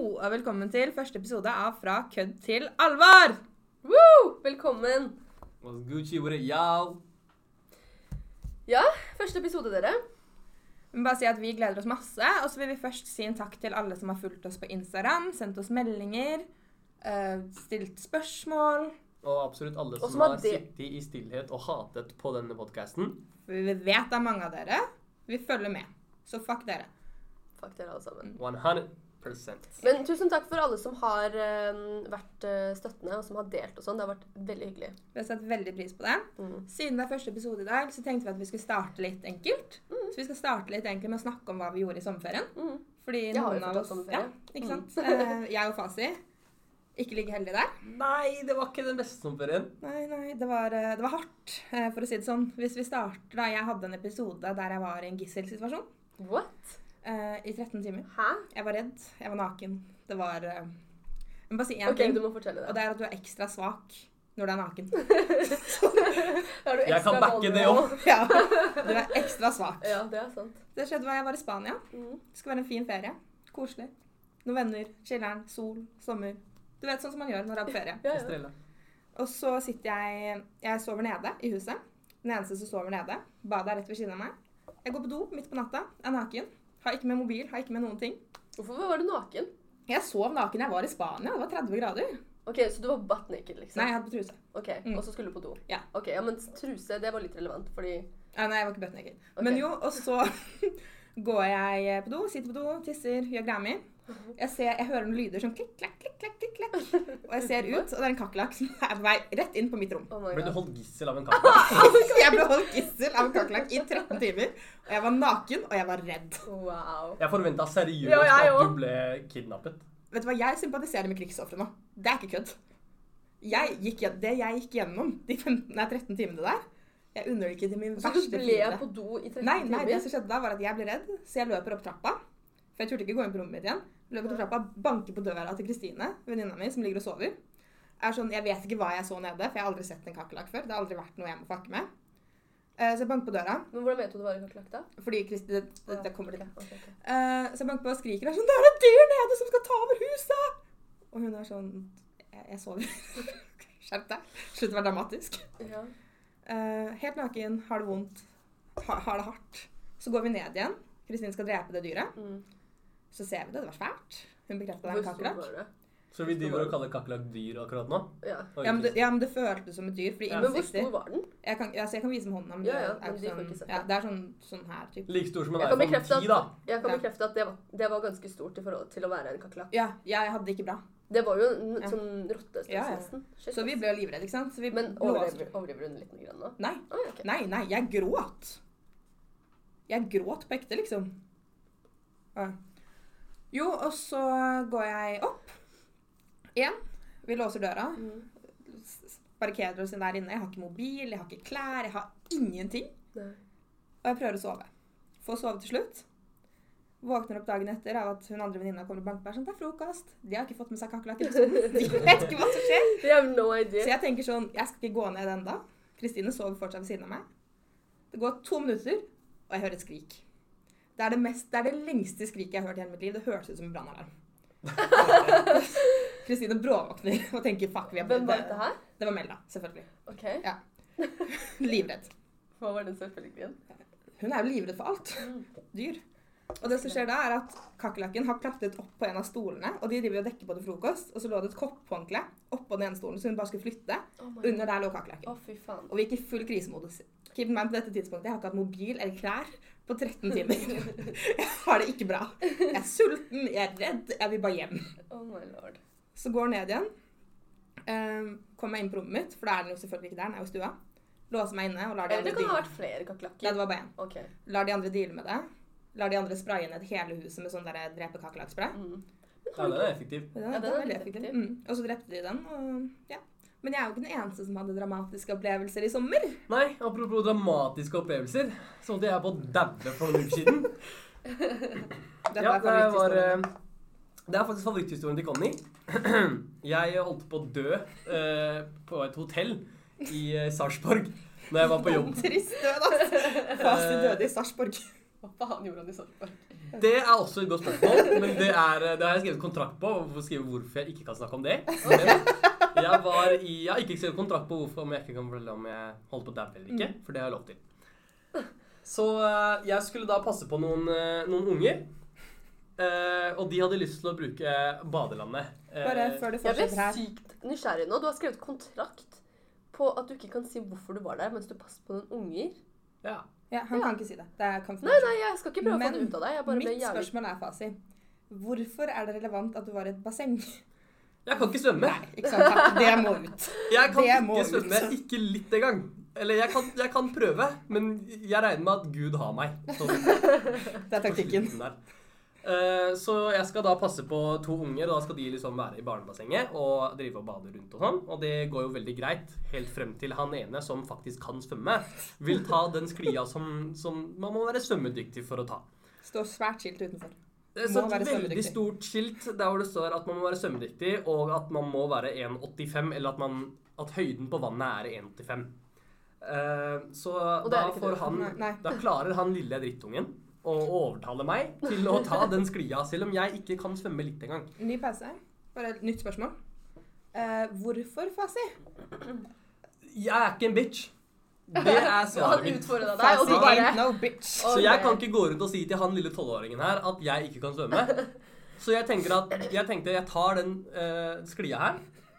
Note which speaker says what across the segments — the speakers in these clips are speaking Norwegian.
Speaker 1: og velkommen til første episode av Fra kødd til alvor!
Speaker 2: Woo! Velkommen.
Speaker 3: What's Gucci with it, y'all?
Speaker 2: Ja, første episode, dere.
Speaker 1: Vi må bare si at vi gleder oss masse, og så vil vi først si en takk til alle som har fulgt oss på Instagram, sendt oss meldinger, eh, stilt spørsmål.
Speaker 3: Og absolutt alle
Speaker 2: Og
Speaker 3: som
Speaker 2: som har
Speaker 3: har
Speaker 2: de-
Speaker 3: sittet i stillhet og hatet på denne podkasten.
Speaker 1: Vi vet det er mange av dere. Vi følger med. Så fuck dere.
Speaker 2: Fuck dere, alle sammen.
Speaker 3: 100
Speaker 2: Men tusen takk for alle som har eh, vært eh, støttende og som har delt og sånn. Det har vært veldig hyggelig.
Speaker 1: Vi har satt veldig pris på det.
Speaker 2: Mm.
Speaker 1: Siden det er første episode i dag, så tenkte vi at vi skulle starte litt enkelt. Så vi skal starte litt enkelt med å snakke om hva vi gjorde i sommerferien.
Speaker 2: Mm.
Speaker 1: Fordi
Speaker 2: Jeg har jo
Speaker 1: noen av
Speaker 2: fortsatt
Speaker 1: oss,
Speaker 2: sommerferie. Mm.
Speaker 1: Ja, ikke sant? Eh, jeg og Fasi. Ikke like heldig der.
Speaker 3: Nei, det var ikke den beste sommerferien.
Speaker 1: Nei, nei, det var, eh, det var hardt, eh, for å si det sånn. Hvis vi starter da, Jeg hadde en episode der jeg var i en gisselsituasjon
Speaker 2: What?
Speaker 1: eh, i 13 timer.
Speaker 2: Hæ?
Speaker 1: Jeg var redd, jeg var naken. Det var eh, Jeg må bare si én
Speaker 2: Ok, du
Speaker 1: ting,
Speaker 2: må fortelle
Speaker 1: og
Speaker 2: det.
Speaker 1: det er at du er ekstra svak når du er naken.
Speaker 2: Da er du
Speaker 3: Jeg kan
Speaker 2: ekstra
Speaker 3: backe det
Speaker 2: vulnerable.
Speaker 1: ja, Du er ekstra svak.
Speaker 2: Ja, det er sant.
Speaker 1: Det skjedde da jeg var i Spania.
Speaker 2: Mm.
Speaker 1: Det skal være en fin ferie. Koselig. Noen venner, chiller'n, sol, sommer. Du vet sånn som man gjør når det er på ferie.
Speaker 2: Ja, ja.
Speaker 3: Estrella.
Speaker 1: Og så sitter jeg Jeg sover nede i huset. Den eneste som sover nede. Badet er rett ved siden av meg. Jeg går på do midt på natta, er naken. Har ikke med mobil, har ikke med noen ting.
Speaker 2: Hvorfor var du naken?
Speaker 1: Jeg sov naken, jeg var i Spania, det var 30 grader.
Speaker 2: Ok, Så du var butt naked, liksom?
Speaker 1: Nei, jeg hadde på truse.
Speaker 2: Ok, Og så skulle du på do?
Speaker 1: Ja.
Speaker 2: Ok, ja, Men truse, det var litt relevant, fordi
Speaker 1: Nei, nei, jeg var ikke buttnaked.
Speaker 2: Ok.
Speaker 1: Men jo, og så går jeg på do, sitter på do, tisser, gjør greia mi.
Speaker 2: Mhm.
Speaker 1: Jeg, ser, jeg hører noen lyder som klikk, klakk, klikk, klakk, klikk, klakk. Og jeg ser ut, og det er en kakerlakk som er på vei rett inn på mitt rom.
Speaker 2: Oh my
Speaker 3: Ble du
Speaker 2: god.
Speaker 3: holdt gissel av en kakerlakk?
Speaker 1: Jeg ble holdt gissel av en kakerlakk i 13 timer, og jeg var naken, og jeg var redd.
Speaker 2: Wow.
Speaker 3: Jeg forventa seriøst
Speaker 2: Ja, jeg
Speaker 3: at
Speaker 2: også.
Speaker 3: du ble kidnappet.
Speaker 1: Vet du hva, jeg sympatiserer med krigsofrene. Det er ikke kødd. Jeg gikk, gjen- det jeg gikk gjennom de 15, nei, 13 timene der Jeg unner det ikke til min
Speaker 2: Så
Speaker 1: verste
Speaker 2: du ble
Speaker 1: fiende.
Speaker 2: på do i 13
Speaker 1: Nei, nei,
Speaker 2: timer?
Speaker 1: det som skjedde da, var at jeg ble redd, så jeg løper opp trappa. For jeg turte ikke gå inn på rommet mitt igjen. Løper opp trappa, banker på døra til Kristine, venninna mi, som ligger og sover. Er sånn, Jeg vet ikke hva jeg så nede, for jeg har aldri sett en kakerlakk før. Det har aldri vært noe jeg må fucke med. Eh, Så jeg banker på døra,
Speaker 2: Men hvordan vet du det var en kakerlakk, da? Ah,
Speaker 1: fordi Kristine det, det, det kommer til
Speaker 2: Ok, ok, ok.
Speaker 1: Eh, så jeg banker på og skriker og er sånn 'Det er et dyr nede som skal ta over huset!' Og hun er sånn 'Jeg, jeg sover. Skjerp deg. Slutt å være dramatisk.'
Speaker 2: Ja.
Speaker 1: Eh, helt naken, har det vondt, ha, har det hardt. Så går vi ned igjen. Kristin skal drepe det dyret.
Speaker 2: Mm.
Speaker 1: Så ser vi det. Det var svært. Hun bekrefta det er
Speaker 2: Hvor
Speaker 1: en
Speaker 2: stor
Speaker 1: kakerlakk.
Speaker 2: var det?
Speaker 3: Så vi driver og kaller kakerlakk dyr akkurat nå?
Speaker 2: Ja.
Speaker 3: Oi,
Speaker 1: Ja, men det- ja, men det føltes som et dyr, fordi
Speaker 3: Ja.
Speaker 2: Men hvor
Speaker 1: insekter
Speaker 2: stor var den?
Speaker 1: jeg kan, altså, jeg kan vise med hånda, men,
Speaker 2: Ja,
Speaker 1: det er
Speaker 2: ja, men
Speaker 1: jo
Speaker 2: de får
Speaker 1: sånn,
Speaker 2: ikke sett det.
Speaker 1: ja, det er sånn, sånn her type.
Speaker 3: Like stor som en
Speaker 2: Jeg kan
Speaker 3: iPhone
Speaker 2: bekrefte
Speaker 3: 10, sånn da.
Speaker 2: at, jeg kan
Speaker 1: Ja.
Speaker 2: bekrefte at det, var, det var ganske stort i forhold til å være en kakerlakk.
Speaker 1: Ja, ja, jeg hadde det ikke bra.
Speaker 2: Det var jo en
Speaker 1: Ja.
Speaker 2: sånn rottestørrelse
Speaker 1: Ja, ja.
Speaker 2: nesten. Shit,
Speaker 1: Så vi
Speaker 2: ass.
Speaker 1: ble jo livredde, ikke sant? Så vi
Speaker 2: Men
Speaker 1: blåste-
Speaker 2: overdriver, overdriver hun litt med grann nå?
Speaker 1: Nei.
Speaker 2: Å, ja, ok.
Speaker 1: Nei, nei, jeg gråt. Jeg gråt på ekte, liksom. Ja. Jo, og så går jeg opp. Igjen. Vi låser døra.
Speaker 2: Mm.
Speaker 1: s- s- Barrikader oss inn der inne. Jeg har ikke mobil, jeg har ikke klær, jeg har ingenting.
Speaker 2: Nei.
Speaker 1: Og jeg prøver å sove. Får sove til slutt. Våkner opp dagen etter av at hun andre venninna kommer og banker meg sånn, det er frokost. De har ikke fått med seg kakerlakker. liksom. De vet ikke hva som skjer.
Speaker 2: We have no
Speaker 1: Så
Speaker 2: idea.
Speaker 1: jeg tenker sånn, jeg skal ikke gå ned enda. Kristine sover fortsatt ved siden av meg. Det går to minutter, og jeg hører et skrik. Det er det, mest, det, er det lengste skriket jeg har hørt i hele mitt liv. Det hørtes ut som en brannalarm. Kristine bråvåkner og tenker fuck, vi er
Speaker 2: Hvem var dette her?
Speaker 1: Det var Melda, selvfølgelig.
Speaker 2: Ok,
Speaker 1: Livredd.
Speaker 2: Hva var den selvfølgelige igjen?
Speaker 1: Hun er jo livredd for alt.
Speaker 2: Mm.
Speaker 1: Dyr. Og det som skjer da, er at kakerlakken har klatret opp på en av stolene, og de driver og dekker på til frokost, og så lå det et kopphåndkle oppå den ene stolen, så hun bare skulle flytte.
Speaker 2: Oh my God.
Speaker 1: Under der lå kakerlakken.
Speaker 2: Å, fy faen.
Speaker 1: Og vi gikk i full krisemodus. Keep in mind på dette tidspunktet, Jeg har ikke hatt mobil eller klær på 13 timer. Jeg har det ikke bra. Jeg er sulten, jeg er redd, jeg vil bare hjem.
Speaker 2: Oh my lord.
Speaker 1: Så går jeg ned igjen. ehm, kommer meg inn på rommet mitt, for da er den jo selvfølgelig ikke der, den er jo i stua. Låser meg inne og lar de
Speaker 2: Eller
Speaker 1: andre
Speaker 2: det kan ha
Speaker 1: deale.
Speaker 2: vært
Speaker 1: Nei,
Speaker 2: flere
Speaker 1: det
Speaker 2: kakerlakker.
Speaker 1: var bare én.
Speaker 2: Ok.
Speaker 1: Lar de andre deale med det. Lar de andre spraye ned hele huset med sånn der drepe kakerlakkspray.
Speaker 2: Mm.
Speaker 3: Ja, den er effektiv.
Speaker 1: Og den-
Speaker 2: Ja, den
Speaker 1: den
Speaker 2: er
Speaker 1: var
Speaker 2: veldig
Speaker 1: effektiv.
Speaker 2: effektiv.
Speaker 1: Mm. Og så drepte de den, og ja. Men jeg er jo ikke den eneste som hadde dramatiske opplevelser i sommer.
Speaker 3: Nei, apropos dramatiske opplevelser, så holdt jeg på å daue for noen uker siden.
Speaker 1: Dette
Speaker 3: ja,
Speaker 1: er
Speaker 3: det var
Speaker 1: favoritthistorien.
Speaker 3: eh, Det er faktisk favoritthistorien til Conny. Jeg holdt på å dø eh, på et hotell i eh, Sarpsborg da jeg var på jobb.
Speaker 2: Eh,
Speaker 1: Trist død, altså. Fast døde i Sarpsborg.
Speaker 2: Hva faen gjorde han i Sarpsborg?
Speaker 3: Det er også et godt spørsmål, men det, er, eh, det har jeg skrevet kontrakt på. og får skrive hvorfor jeg ikke kan snakke om det. Men jeg, var i, jeg har ikke skrevet kontrakt på hvorfor om jeg ikke kan fortelle om jeg holder på å daue eller
Speaker 1: Mm.
Speaker 3: ikke. For det har jeg lov til. Så eh, jeg skulle da passe på noen, eh, noen unger. eh, og de hadde lyst til å bruke badelandet. Eh,
Speaker 1: Bare før du
Speaker 2: Jeg ble
Speaker 1: fortsetter her.
Speaker 2: sykt nysgjerrig nå. Du har skrevet kontrakt på at du ikke kan si hvorfor du var der mens du passer på noen unger.
Speaker 3: Ja.
Speaker 1: Ja, han
Speaker 2: Ja.
Speaker 1: kan ikke si det. Det er confidential.
Speaker 2: Nei, nei, jeg skal ikke prøve å
Speaker 1: Men
Speaker 2: få det ut av deg. Jeg bare ble
Speaker 1: Mitt
Speaker 2: jævlig
Speaker 1: spørsmål er Fasi. Hvorfor er det relevant at du var i et basseng?
Speaker 3: Jeg kan ikke svømme.
Speaker 1: Nei, ikke sant? Takk. Det må ut.
Speaker 3: Jeg kan
Speaker 1: Det må
Speaker 3: ikke
Speaker 1: ut.
Speaker 3: svømme. Ikke litt engang. Eller jeg kan, jeg kan prøve, men jeg regner med at Gud har meg. Sånn.
Speaker 1: Det er taktikken.
Speaker 3: på slutten der. Eh, Så jeg skal da passe på to unger, og da skal de liksom være i barnebassenget og drive og bade rundt og sånn. Og det går jo veldig greit, helt frem til han ene som faktisk kan svømme, vil ta den sklia som, som man må være svømmedyktig for å ta.
Speaker 1: Står svært skilt utenfor.
Speaker 3: Det er
Speaker 1: Må
Speaker 3: sånn
Speaker 1: være
Speaker 3: veldig
Speaker 1: svømmedyktig.
Speaker 3: stort skilt der hvor det står at man må være svømmedyktig, og at man må være 1,85, eller at, man, at høyden på vannet er 1,85. Eh, så
Speaker 2: det
Speaker 3: da
Speaker 2: er ikke
Speaker 3: får
Speaker 2: du.
Speaker 3: han
Speaker 1: Nei, nei.
Speaker 3: Da klarer han lille drittungen å overtale meg til å ta den sklia, selv om jeg ikke kan svømme litt engang.
Speaker 1: Ny pause. Bare et nytt spørsmål. Eh, hvorfor, Fasi?
Speaker 3: Jeg er ikke en bitch. Det er
Speaker 2: Han
Speaker 3: svaret mitt.
Speaker 2: utfordra deg, og du
Speaker 1: Fasi
Speaker 2: bare
Speaker 1: ain't no bitch.
Speaker 2: Å,
Speaker 3: Så jeg kan ikke gå rundt og si til han lille tolvåringen her at jeg ikke kan svømme. Så jeg tenker at jeg tenkte jeg tar den eh, sklia her,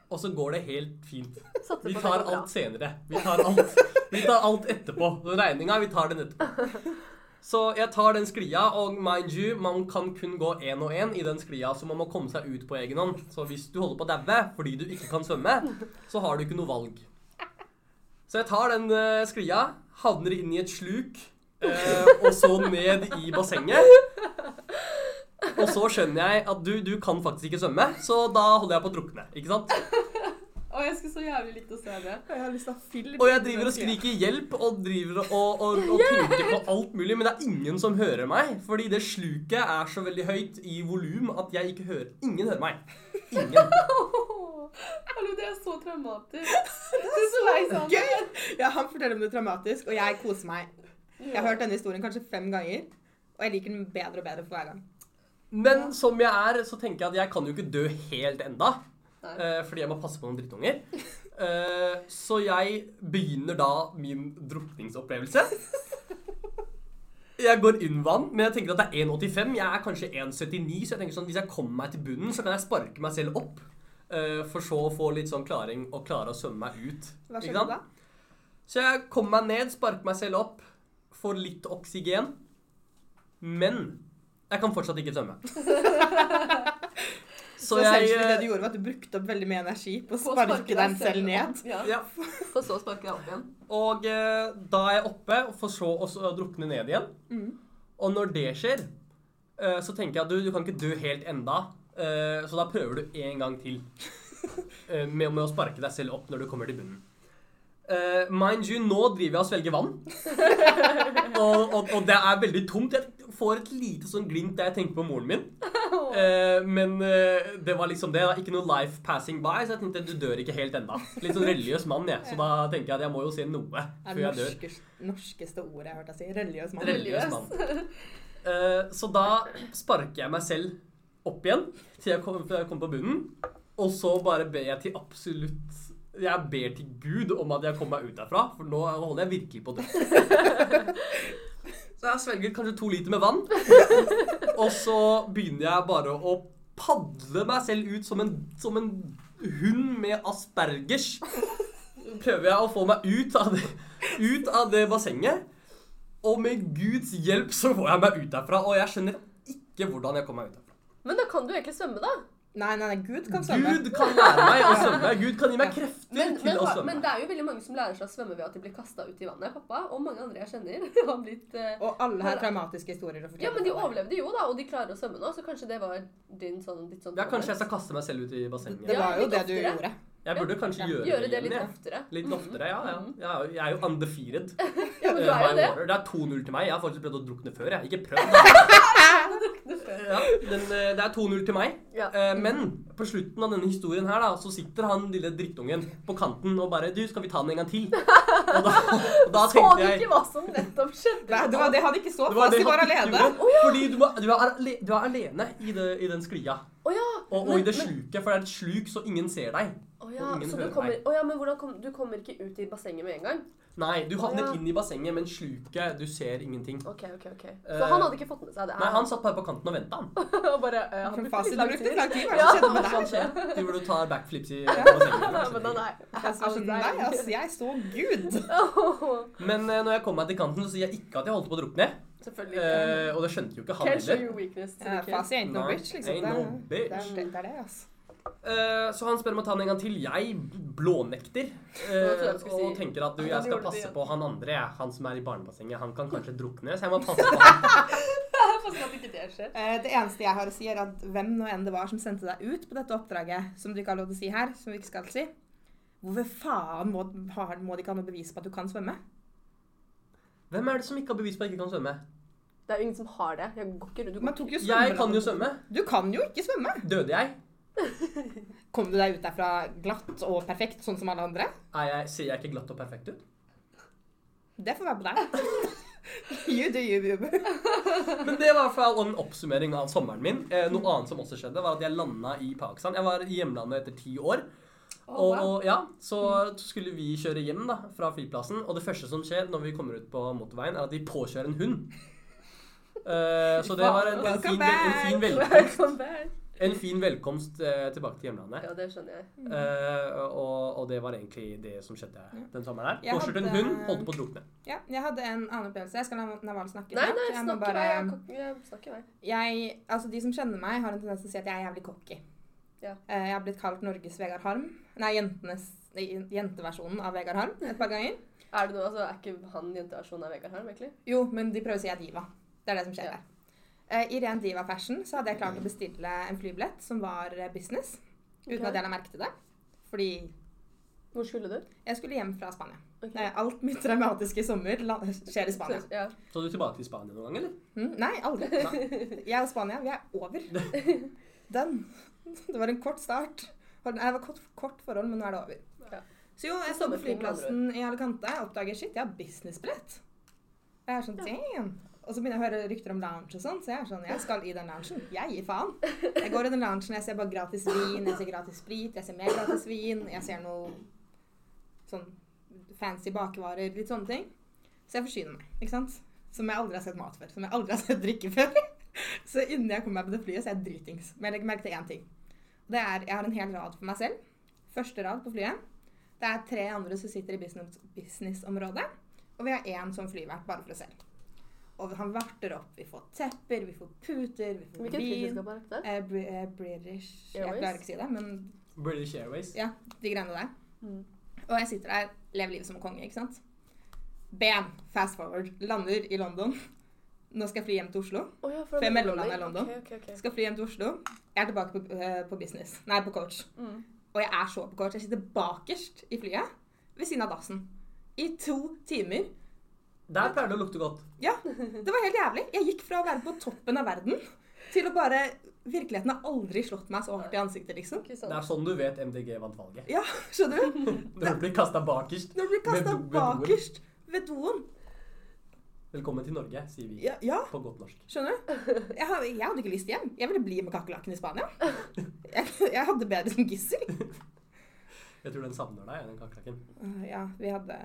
Speaker 3: og så går det helt fint.
Speaker 2: satser
Speaker 3: Vi
Speaker 2: på det
Speaker 3: tar
Speaker 2: går bra.
Speaker 3: alt senere. Vi tar alt, vi tar alt etterpå. Den regninga, vi tar den etterpå. Så jeg tar den sklia, og mind you, man kan kun gå én og én i den sklia, så man må komme seg ut på egen hånd. Så hvis du holder på å daue fordi du ikke kan svømme, så har du ikke noe valg. Så jeg tar den eh, sklia, havner inn i et sluk, eh, og så ned i bassenget. Og så skjønner jeg at du, du kan faktisk ikke svømme, så da holder jeg på å drukne. ikke sant?
Speaker 2: Å, jeg skulle så jævlig likt å se det.
Speaker 1: Jeg har lyst til å fylle
Speaker 3: Og jeg driver og skriker hjelp og driver og, og, og tenker på alt mulig, men det er ingen som hører meg. Fordi det sluket er så veldig høyt i volum at jeg ikke hører Ingen hører meg. Ingen.
Speaker 2: Hallo, det er så traumatisk.
Speaker 1: Det er så gøy!
Speaker 2: sånn.
Speaker 1: Ja, han forteller om det traumatisk, og jeg koser meg. Jeg har hørt denne historien kanskje fem ganger, og jeg liker den bedre og bedre for hver gang.
Speaker 3: Men som jeg er, så tenker jeg at jeg kan jo ikke dø helt enda.
Speaker 2: Nei.
Speaker 3: eh, Fordi jeg må passe på noen drittunger. Eh, Så jeg begynner da min drukningsopplevelse. Jeg går inn vann, men jeg tenker at det er 1,85. Jeg er kanskje 1,79, så jeg tenker sånn, hvis jeg kommer meg til bunnen, så kan jeg sparke meg selv opp. eh, For så å få litt sånn klaring og klare å svømme meg ut.
Speaker 1: Hva
Speaker 3: Ikke
Speaker 1: skjedde
Speaker 3: sant?
Speaker 1: da?
Speaker 3: Så jeg kommer meg ned, sparker meg selv opp, får litt oksygen. Men jeg kan fortsatt ikke svømme.
Speaker 1: Så,
Speaker 3: Så
Speaker 1: jeg,
Speaker 3: jeg
Speaker 1: det du
Speaker 3: eh,
Speaker 1: gjorde, var at du brukte opp veldig mye energi på å sparke deg selv ned.
Speaker 2: Ja.
Speaker 3: eh, ja,
Speaker 2: For så å sparke deg opp igjen.
Speaker 3: Og eh, da er jeg oppe, og får så også drukne ned igjen. Og når det skjer, eh, så tenker jeg at du, du kan ikke dø helt enda. eh, så da prøver du en gang til eh, med, med å sparke deg selv opp når du kommer til bunnen. Eh, mind you, nå driver jeg og svelger vann. og, og, og det er veldig tomt. Jeg får et lite sånn glimt der jeg tenker på moren min. Eh, men eh, det var liksom det. da. Ikke noe life passing by, så jeg tenkte du dør ikke helt enda. Litt sånn religiøs mann, jeg. Så da tenker jeg at jeg må jo se noe
Speaker 1: Det
Speaker 3: før
Speaker 1: er
Speaker 3: jeg
Speaker 1: det
Speaker 3: dør.
Speaker 1: norskes, norskeste ordet jeg har hørt deg si. Religiøs mann.
Speaker 3: Religiøs mann. Eh, så da sparker jeg meg selv opp igjen til jeg kommer kom på bunnen. Og så bare ber jeg til absolutt Jeg ber til Gud om at jeg kommer meg ut derfra, for nå holder jeg virkelig på å dø. Så jeg svelger kanskje to liter med vann, og så begynner jeg bare å padle meg selv ut som en, som en hund med aspergers. Prøver jeg å få meg ut av det, ut av det bassenget. Og med Guds hjelp så får jeg meg ut derfra, og jeg skjønner ikke hvordan jeg kom meg ut derfra.
Speaker 2: Men da kan du egentlig svømme, da.
Speaker 1: Nei, nei, nei, Gud kan svømme.
Speaker 3: Gud kan lære meg å svømme. Gud kan gi meg krefter
Speaker 2: Men,
Speaker 3: til
Speaker 2: men,
Speaker 3: å
Speaker 2: har-
Speaker 3: svømme.
Speaker 2: men det er jo veldig mange som lærer seg å svømme ved at de blir kasta ut i vannet. Pappa og mange andre jeg kjenner har blitt eh,
Speaker 1: Og alle har traumatiske historier å fortelle.
Speaker 2: Ja, men de overlevde jo, da, og de klarer å svømme nå, så kanskje det var din sånn ditt sånn
Speaker 3: Ja, kanskje jeg skal kaste meg selv ut i
Speaker 1: Det
Speaker 3: bassenget.
Speaker 2: Ja,
Speaker 1: var jo
Speaker 2: litt
Speaker 1: det du
Speaker 2: oftere.
Speaker 1: gjorde.
Speaker 3: Jeg burde kanskje gjøre,
Speaker 2: Gjøre det
Speaker 3: det
Speaker 2: litt
Speaker 3: igjen. jeg.
Speaker 2: oftere.
Speaker 3: Litt oftere, ja, ja. Jeg er jo- Jeg er jo undefeated. eh,
Speaker 2: Ja, men du er jo det.
Speaker 3: Det er 2-0 til meg. Jeg har faktisk prøvd å drukne før. Jeg. Ikke prøvd. da. Ja, den, eh, det er 2-0 til meg.
Speaker 2: Ja.
Speaker 3: Eh, Men på slutten av denne historien her da, så sitter han lille drittungen på kanten og bare Du, skal vi ta den en gang til? Og da, og da
Speaker 2: Så du
Speaker 3: tenkte jeg
Speaker 2: ikke hva som nettopp skjedde?
Speaker 1: Nei, det var det han ikke så.
Speaker 3: det
Speaker 1: Fast
Speaker 3: det
Speaker 1: de var
Speaker 3: han ikke
Speaker 1: alene.
Speaker 3: gjorde, Fordi du, må- du, er, ale- du er alene i, det, i den sklia.
Speaker 2: Å ja.
Speaker 3: Og, og i det sluket, for det er et sluk, så ingen ser deg.
Speaker 2: Å ja,
Speaker 3: og ingen
Speaker 2: så du
Speaker 3: hører
Speaker 2: kommer,
Speaker 3: meg.
Speaker 2: å ja, men hvordan kom, du kommer ikke ut i bassenget med en gang?
Speaker 3: Nei, du havnet
Speaker 2: Å, ja.
Speaker 3: inn i bassenget, men sluket Du ser ingenting.
Speaker 2: Ok, ok, ok.
Speaker 3: Eh,
Speaker 2: Så han hadde ikke fått med seg det? her?
Speaker 3: Nei, han satt bare på kanten og venta, han.
Speaker 2: og bare eh, han
Speaker 1: Som
Speaker 2: brukte
Speaker 1: fasit,
Speaker 2: litt
Speaker 1: du
Speaker 2: lang
Speaker 1: brukte litt
Speaker 2: tid.
Speaker 1: lang tid. Hva er det
Speaker 2: Ja.
Speaker 1: som skjedde med deg?
Speaker 3: Sånn skjer. Du burde ta backflips i bassenget.
Speaker 2: Nei, men han er
Speaker 1: Altså, jeg skjønner- Nei, altså, jeg så Gud.
Speaker 3: Men eh, når jeg kom meg til kanten, så sier jeg ikke at jeg holdt på å drukne.
Speaker 2: Selvfølgelig ikke.
Speaker 3: Eh, og det skjønte jo ikke han
Speaker 2: Can't show
Speaker 3: heller.
Speaker 2: your weakness to
Speaker 1: Eh,
Speaker 2: the kids.
Speaker 1: Fasi ain't no
Speaker 3: Nei,
Speaker 1: bitch, liksom.
Speaker 3: ain't
Speaker 1: Det er-
Speaker 3: no bitch.
Speaker 1: Det er det, er det altså.
Speaker 3: Eh, så han spør om å ta den en gang til. Jeg blånekter. eh,
Speaker 2: Jeg trodde jeg skulle
Speaker 3: og
Speaker 2: si-
Speaker 3: tenker at du,
Speaker 2: Ja,
Speaker 3: jeg
Speaker 2: du
Speaker 3: skal
Speaker 2: gjorde det
Speaker 3: passe
Speaker 2: igjen.
Speaker 3: på han andre, jeg. han som er i barnebassenget. Han kan kanskje drukne, så jeg må passe på han.
Speaker 2: Pass på at ikke det skjer.
Speaker 1: Eh, Det eneste jeg har å si, er at hvem nå enn det var som sendte deg ut på dette oppdraget, som du ikke har lov til å si her, som vi ikke skal si Hvorfor faen må, har, må de ikke ha noe bevis på at du kan svømme?
Speaker 3: Hvem er det som ikke har bevis på at jeg ikke kan svømme?
Speaker 2: Det er jo ingen som har det. Jeg går ikke rundt. Du
Speaker 1: Man
Speaker 2: går.
Speaker 1: tok jo
Speaker 3: Jeg kan jo
Speaker 1: svømmeland.
Speaker 3: svømme.
Speaker 1: Du kan jo ikke svømme!
Speaker 3: Døde jeg?
Speaker 1: Kom du deg ut derfra glatt og perfekt, sånn som alle andre?
Speaker 3: Er jeg ser jeg ikke glatt og perfekt ut?
Speaker 1: Det får være på deg. you do you, boo.
Speaker 3: Men det var i hvert fall en oppsummering av sommeren min. Eh, noe annet som også skjedde, var at jeg landa i Pakistan. Jeg var i hjemlandet etter ti år. Og, og ja, så skulle vi kjøre hjem da, fra flyplassen, og det første som skjer når vi kommer ut på motorveien, er at de påkjører en hund. Eh, så det var en, en, fin,
Speaker 1: Welcome
Speaker 3: vel- en, fin, velkomst,
Speaker 2: Welcome back.
Speaker 3: en fin velkomst eh, tilbake til hjemlandet.
Speaker 2: sånn Ja, det skjønner jeg.
Speaker 3: Eh, og, og det var egentlig det som skjedde den sommeren her.
Speaker 1: Jeg
Speaker 3: Påkjørt en
Speaker 1: hadde-
Speaker 3: hund, holdt på å drukne.
Speaker 1: Ja, jeg hadde en annen opplevelse. Jeg skal la Naval snakke.
Speaker 2: Nei,
Speaker 1: snart.
Speaker 2: nei,
Speaker 1: Jeg må
Speaker 2: snakk i vei. Jeg kan- Jeg snakker i vei.
Speaker 1: jeg, altså De som kjenner meg, har en tendens til å si at jeg er jævlig cocky.
Speaker 2: Ja.
Speaker 1: Eh, Jeg har blitt kalt Norges Vegard Harm. Nei, jentenes, nei, jenteversjonen av Vegard Harm et par ganger.
Speaker 2: Er det noe, altså, er ikke han jenteversjonen av Vegard Harm, egentlig?
Speaker 1: Jo, men de prøver å si jeg er diva. Det er det som skjer
Speaker 2: Ja.
Speaker 1: der. Eh, I ren diva-fashion så hadde jeg klart å bestille en flybillett som var eh, business, uten
Speaker 2: Ok.
Speaker 1: at jeg la merke til det. Fordi
Speaker 2: Hvor skulle du?
Speaker 1: jeg skulle hjem fra Spania.
Speaker 2: Ok.
Speaker 1: Eh, Alt mitt traumatiske i sommer la- skjer i Spania.
Speaker 2: Ja.
Speaker 3: Så du tilbake til Spania noen gang, eller?
Speaker 1: Mm, nei, aldri. Jeg og Spania, vi er over. Den. Det var en kort start. Det var kort, kort forhold, men nå er det over.
Speaker 2: Ja.
Speaker 1: Så jo, jeg
Speaker 2: Så
Speaker 1: står på
Speaker 2: sommerfugl, med andre
Speaker 1: flyplassen i Alicante og oppdager shit, jeg har businessbrett. Og jeg er sånn, damn. Og så begynner jeg å høre rykter om lounge og sånn, så jeg er sånn, jeg skal i den loungen. Jeg gir faen. Jeg går i den loungen, jeg ser bare gratis vin, jeg ser gratis sprit, jeg ser mer gratis vin, jeg ser noe sånn fancy bakevarer, litt sånne ting. Så jeg forsyner meg, ikke sant? Som jeg aldri har sett mat før, som jeg aldri har sett drikke før. Så innen jeg kommer meg på det flyet, så er jeg dritings. Men jeg legger merke til én ting. Det er, Jeg har en hel rad for meg selv. Første rad på flyet. Det er tre andre som sitter i business- businessområdet. og vi har én som flyvert bare for oss selv. Og han varter opp. Vi får tepper, vi får puter, vi får
Speaker 2: Hvilket
Speaker 1: vin.
Speaker 2: flyselskap er dette?
Speaker 1: Eh, Bri- eh, British Jeg
Speaker 2: Airways?
Speaker 1: klarer ikke å si det, men
Speaker 3: British Airways.
Speaker 1: ja, de greiene der.
Speaker 2: Mm.
Speaker 1: Og jeg sitter der, lever livet som en konge, ikke sant. Bam! Fast forward. Lander i London. Nå skal jeg fly hjem til Oslo.
Speaker 2: Oh, ja, for
Speaker 1: For jeg mellomlandet i London.
Speaker 2: Ok, ok, ok.
Speaker 1: Skal fly hjem til Oslo. Jeg er tilbake på, eh, på business. Nei, på coach.
Speaker 2: Mm.
Speaker 1: Og jeg er så på coach. Jeg sitter bakerst i flyet ved siden av dassen. I to timer.
Speaker 3: Der pleier det å lukte godt.
Speaker 1: Ja, det var helt jævlig. Jeg gikk fra å være på toppen av verden til å bare Virkeligheten har aldri slått meg så hardt i ansiktet, liksom.
Speaker 2: Ikke sant.
Speaker 3: Det er sånn du vet MDG vant valget.
Speaker 1: Ja, skjønner du?
Speaker 3: Når du blir kasta bakerst.
Speaker 1: Når du blir kasta
Speaker 3: Ved do- ved doen.
Speaker 1: bakerst ved doen.
Speaker 3: Velkommen til Norge, sier vi
Speaker 1: Ja, ja,
Speaker 3: på godt norsk.
Speaker 1: skjønner du? Jeg, har- jeg hadde ikke lyst hjem. Jeg ville bli med kakerlakken i Spania. Jeg, jeg hadde bedre som gissel.
Speaker 3: Jeg tror den savner deg, den kakerlakken.
Speaker 1: Øh, Ja, vi hadde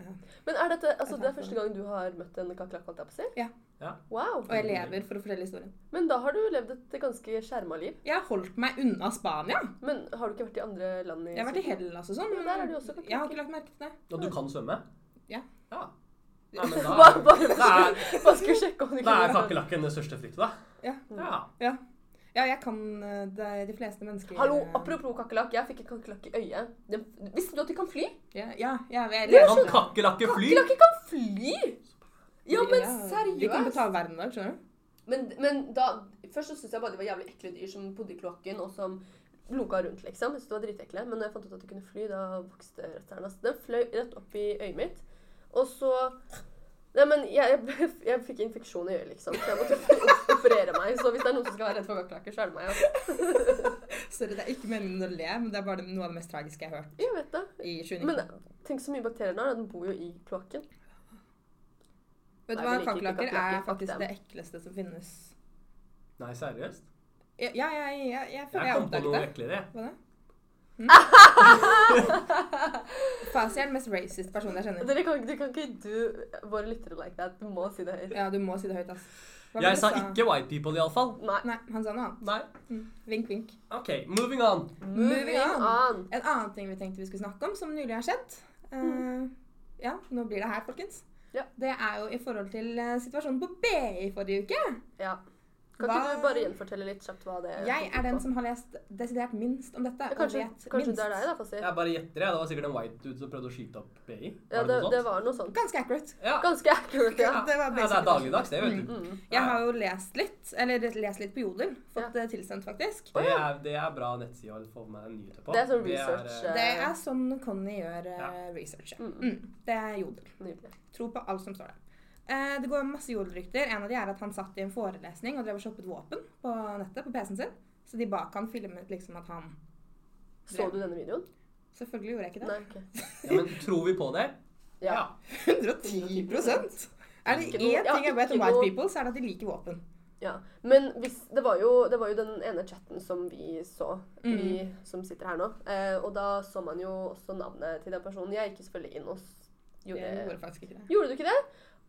Speaker 2: Men er dette, altså,
Speaker 1: Jeg
Speaker 2: det er
Speaker 1: tar
Speaker 2: første gang du har møtt en kakerlakk, holdt jeg på å si?
Speaker 1: Ja.
Speaker 3: Ja.
Speaker 2: Wow.
Speaker 1: Og jeg lever for å fortelle historien.
Speaker 2: Men da har du levd et ganske skjerma liv.
Speaker 1: Jeg har holdt meg unna Spania.
Speaker 2: Men har du ikke vært i andre land i
Speaker 1: Jeg har vært i
Speaker 2: Syden?
Speaker 1: Hellas og sånn.
Speaker 2: Ja, der er det jo også
Speaker 1: jeg har ikke lagt merke til det.
Speaker 3: Og du kan svømme?
Speaker 1: Ja.
Speaker 3: ja. Nei, men da,
Speaker 2: Bare, bare,
Speaker 3: da er,
Speaker 2: bare skulle sjekke om du
Speaker 3: da er
Speaker 2: kunne
Speaker 3: kakerlakken det største fryktet, da.
Speaker 1: Ja.
Speaker 3: ja.
Speaker 1: Ja, jeg kan eh, det er de fleste mennesker eh,
Speaker 2: Hallo, apropos kakerlakk. Jeg fikk en kakerlakk i øyet. Den- Visste du at de kan fly?
Speaker 1: Ja, ja, ja jeg
Speaker 2: Det er
Speaker 3: Kan kakerlakker fly?
Speaker 2: Kakerlakker kan fly! Ja, men
Speaker 1: De kan
Speaker 2: seriøst!
Speaker 1: betale verden i dag, skjønner du.
Speaker 2: Men, men da, først så syntes jeg bare de var jævlig ekle dyr som bodde i kloakken og som loka rundt, liksom. Jeg syntes de var dritekle. Men når jeg fant ut at de kunne fly, da vokste retteren. Altså, den fløy rett opp i øyet mitt. Og så Nei, men jeg, jeg, ble, jeg fikk infeksjon i øyet, liksom. Så jeg måtte operere meg. Så hvis det er noen som skal være redd for kakerlakker, så er det meg. Altså.
Speaker 1: Sorry, det er ikke meningen å le, men det er bare noe av det mest tragiske jeg har hørt
Speaker 2: Jeg vet det.
Speaker 1: i 29.
Speaker 2: Men tenk så mye bakterier det er. Den bor jo i kloakken.
Speaker 1: Vet du hva,
Speaker 2: Nei, vi liker ikke
Speaker 1: kakerlakker
Speaker 2: kakerlakker,
Speaker 1: er
Speaker 2: fuck
Speaker 1: faktisk
Speaker 2: dem.
Speaker 1: det ekleste som finnes.
Speaker 3: Nei, seriøst?
Speaker 1: Ja, ja, ja, ja jeg føler
Speaker 3: Jeg
Speaker 1: jeg
Speaker 3: kom på
Speaker 1: oppdaget
Speaker 3: noe
Speaker 1: det.
Speaker 3: eklere.
Speaker 1: Hva da? Hm? Fasi er den mest racist personen jeg kjenner.
Speaker 2: Dere kan, du kan ikke du våre lyttere like that. Du må si det høyt.
Speaker 1: Ja, du må si det høyt, ass. Hva var det
Speaker 3: Jeg
Speaker 1: du
Speaker 3: sa ikke white people, iallfall.
Speaker 2: Nei.
Speaker 1: Nei, han sa noe annet.
Speaker 3: Nei.
Speaker 1: Mm. Vink, vink.
Speaker 3: OK, moving on.
Speaker 1: Moving
Speaker 2: Moving
Speaker 1: on.
Speaker 2: on.
Speaker 1: En annen ting vi tenkte vi skulle snakke om, som nylig har skjedd. eh, ja, nå blir det her, folkens.
Speaker 2: Mm. Ja.
Speaker 1: Det er jo i forhold til eh, situasjonen på BI forrige uke.
Speaker 2: Ja. Kan
Speaker 1: Hva-
Speaker 2: ikke du bare gjenfortelle litt kjapt hva det
Speaker 1: Jeg er den som har lest desidert minst om dette.
Speaker 2: ja, Kanskje,
Speaker 1: og vet
Speaker 2: kanskje
Speaker 1: minst.
Speaker 2: det er deg, da, Fassi. Ja,
Speaker 3: Jeg bare gjetter. jeg. Det var sikkert en white dude som prøvde å skyte opp BI. Var
Speaker 2: det,
Speaker 3: noe
Speaker 2: det
Speaker 3: sånt?
Speaker 2: var noe sånt.
Speaker 1: Ganske accurate.
Speaker 3: Ja.
Speaker 2: Ganske accurate, ja.
Speaker 1: Det var
Speaker 3: ja, det er
Speaker 1: basically-
Speaker 3: dagligdags, det, vet du.
Speaker 2: Mm.
Speaker 1: Jeg har jo lest litt, eller lest litt på Jodel. Fått
Speaker 2: Ja.
Speaker 1: det tilsendt, faktisk.
Speaker 3: Det er, det er bra nettside å få med nyheter på.
Speaker 2: Det er sånn
Speaker 3: eh,
Speaker 2: research, eh,
Speaker 1: Det er sånn Conny gjør eh,
Speaker 3: Ja.
Speaker 1: research. ja.
Speaker 2: Mm.
Speaker 1: Mm, det er Jodel.
Speaker 2: Nydelig.
Speaker 1: Tro på alt som står der. Eh, det går masse Jodel-rykter. En av de er at han satt i en forelesning og drev og shoppet våpen på nettet, på PC-en sin. Så de bak han filmet liksom at han
Speaker 2: Så du denne videoen?
Speaker 1: Selvfølgelig gjorde jeg ikke det.
Speaker 2: Nei, ok.
Speaker 3: ja, men tror vi på det?
Speaker 2: eh. Ja.
Speaker 1: 110 Er det
Speaker 2: Ikke noe-
Speaker 1: én
Speaker 2: ja,
Speaker 1: ting jeg vet om
Speaker 2: ikke
Speaker 1: white
Speaker 2: noe-
Speaker 1: people, så er det at de liker våpen.
Speaker 2: Ja, men hvis, det, var jo, det var jo den ene chatten som vi så,
Speaker 1: Mm.
Speaker 2: vi som sitter her nå. Eh, og da så man jo også navnet til den personen. Jeg gikk selvfølgelig inn og s-
Speaker 1: Jeg
Speaker 2: gjorde
Speaker 1: gjorde faktisk ikke det.
Speaker 2: Gjorde du ikke det?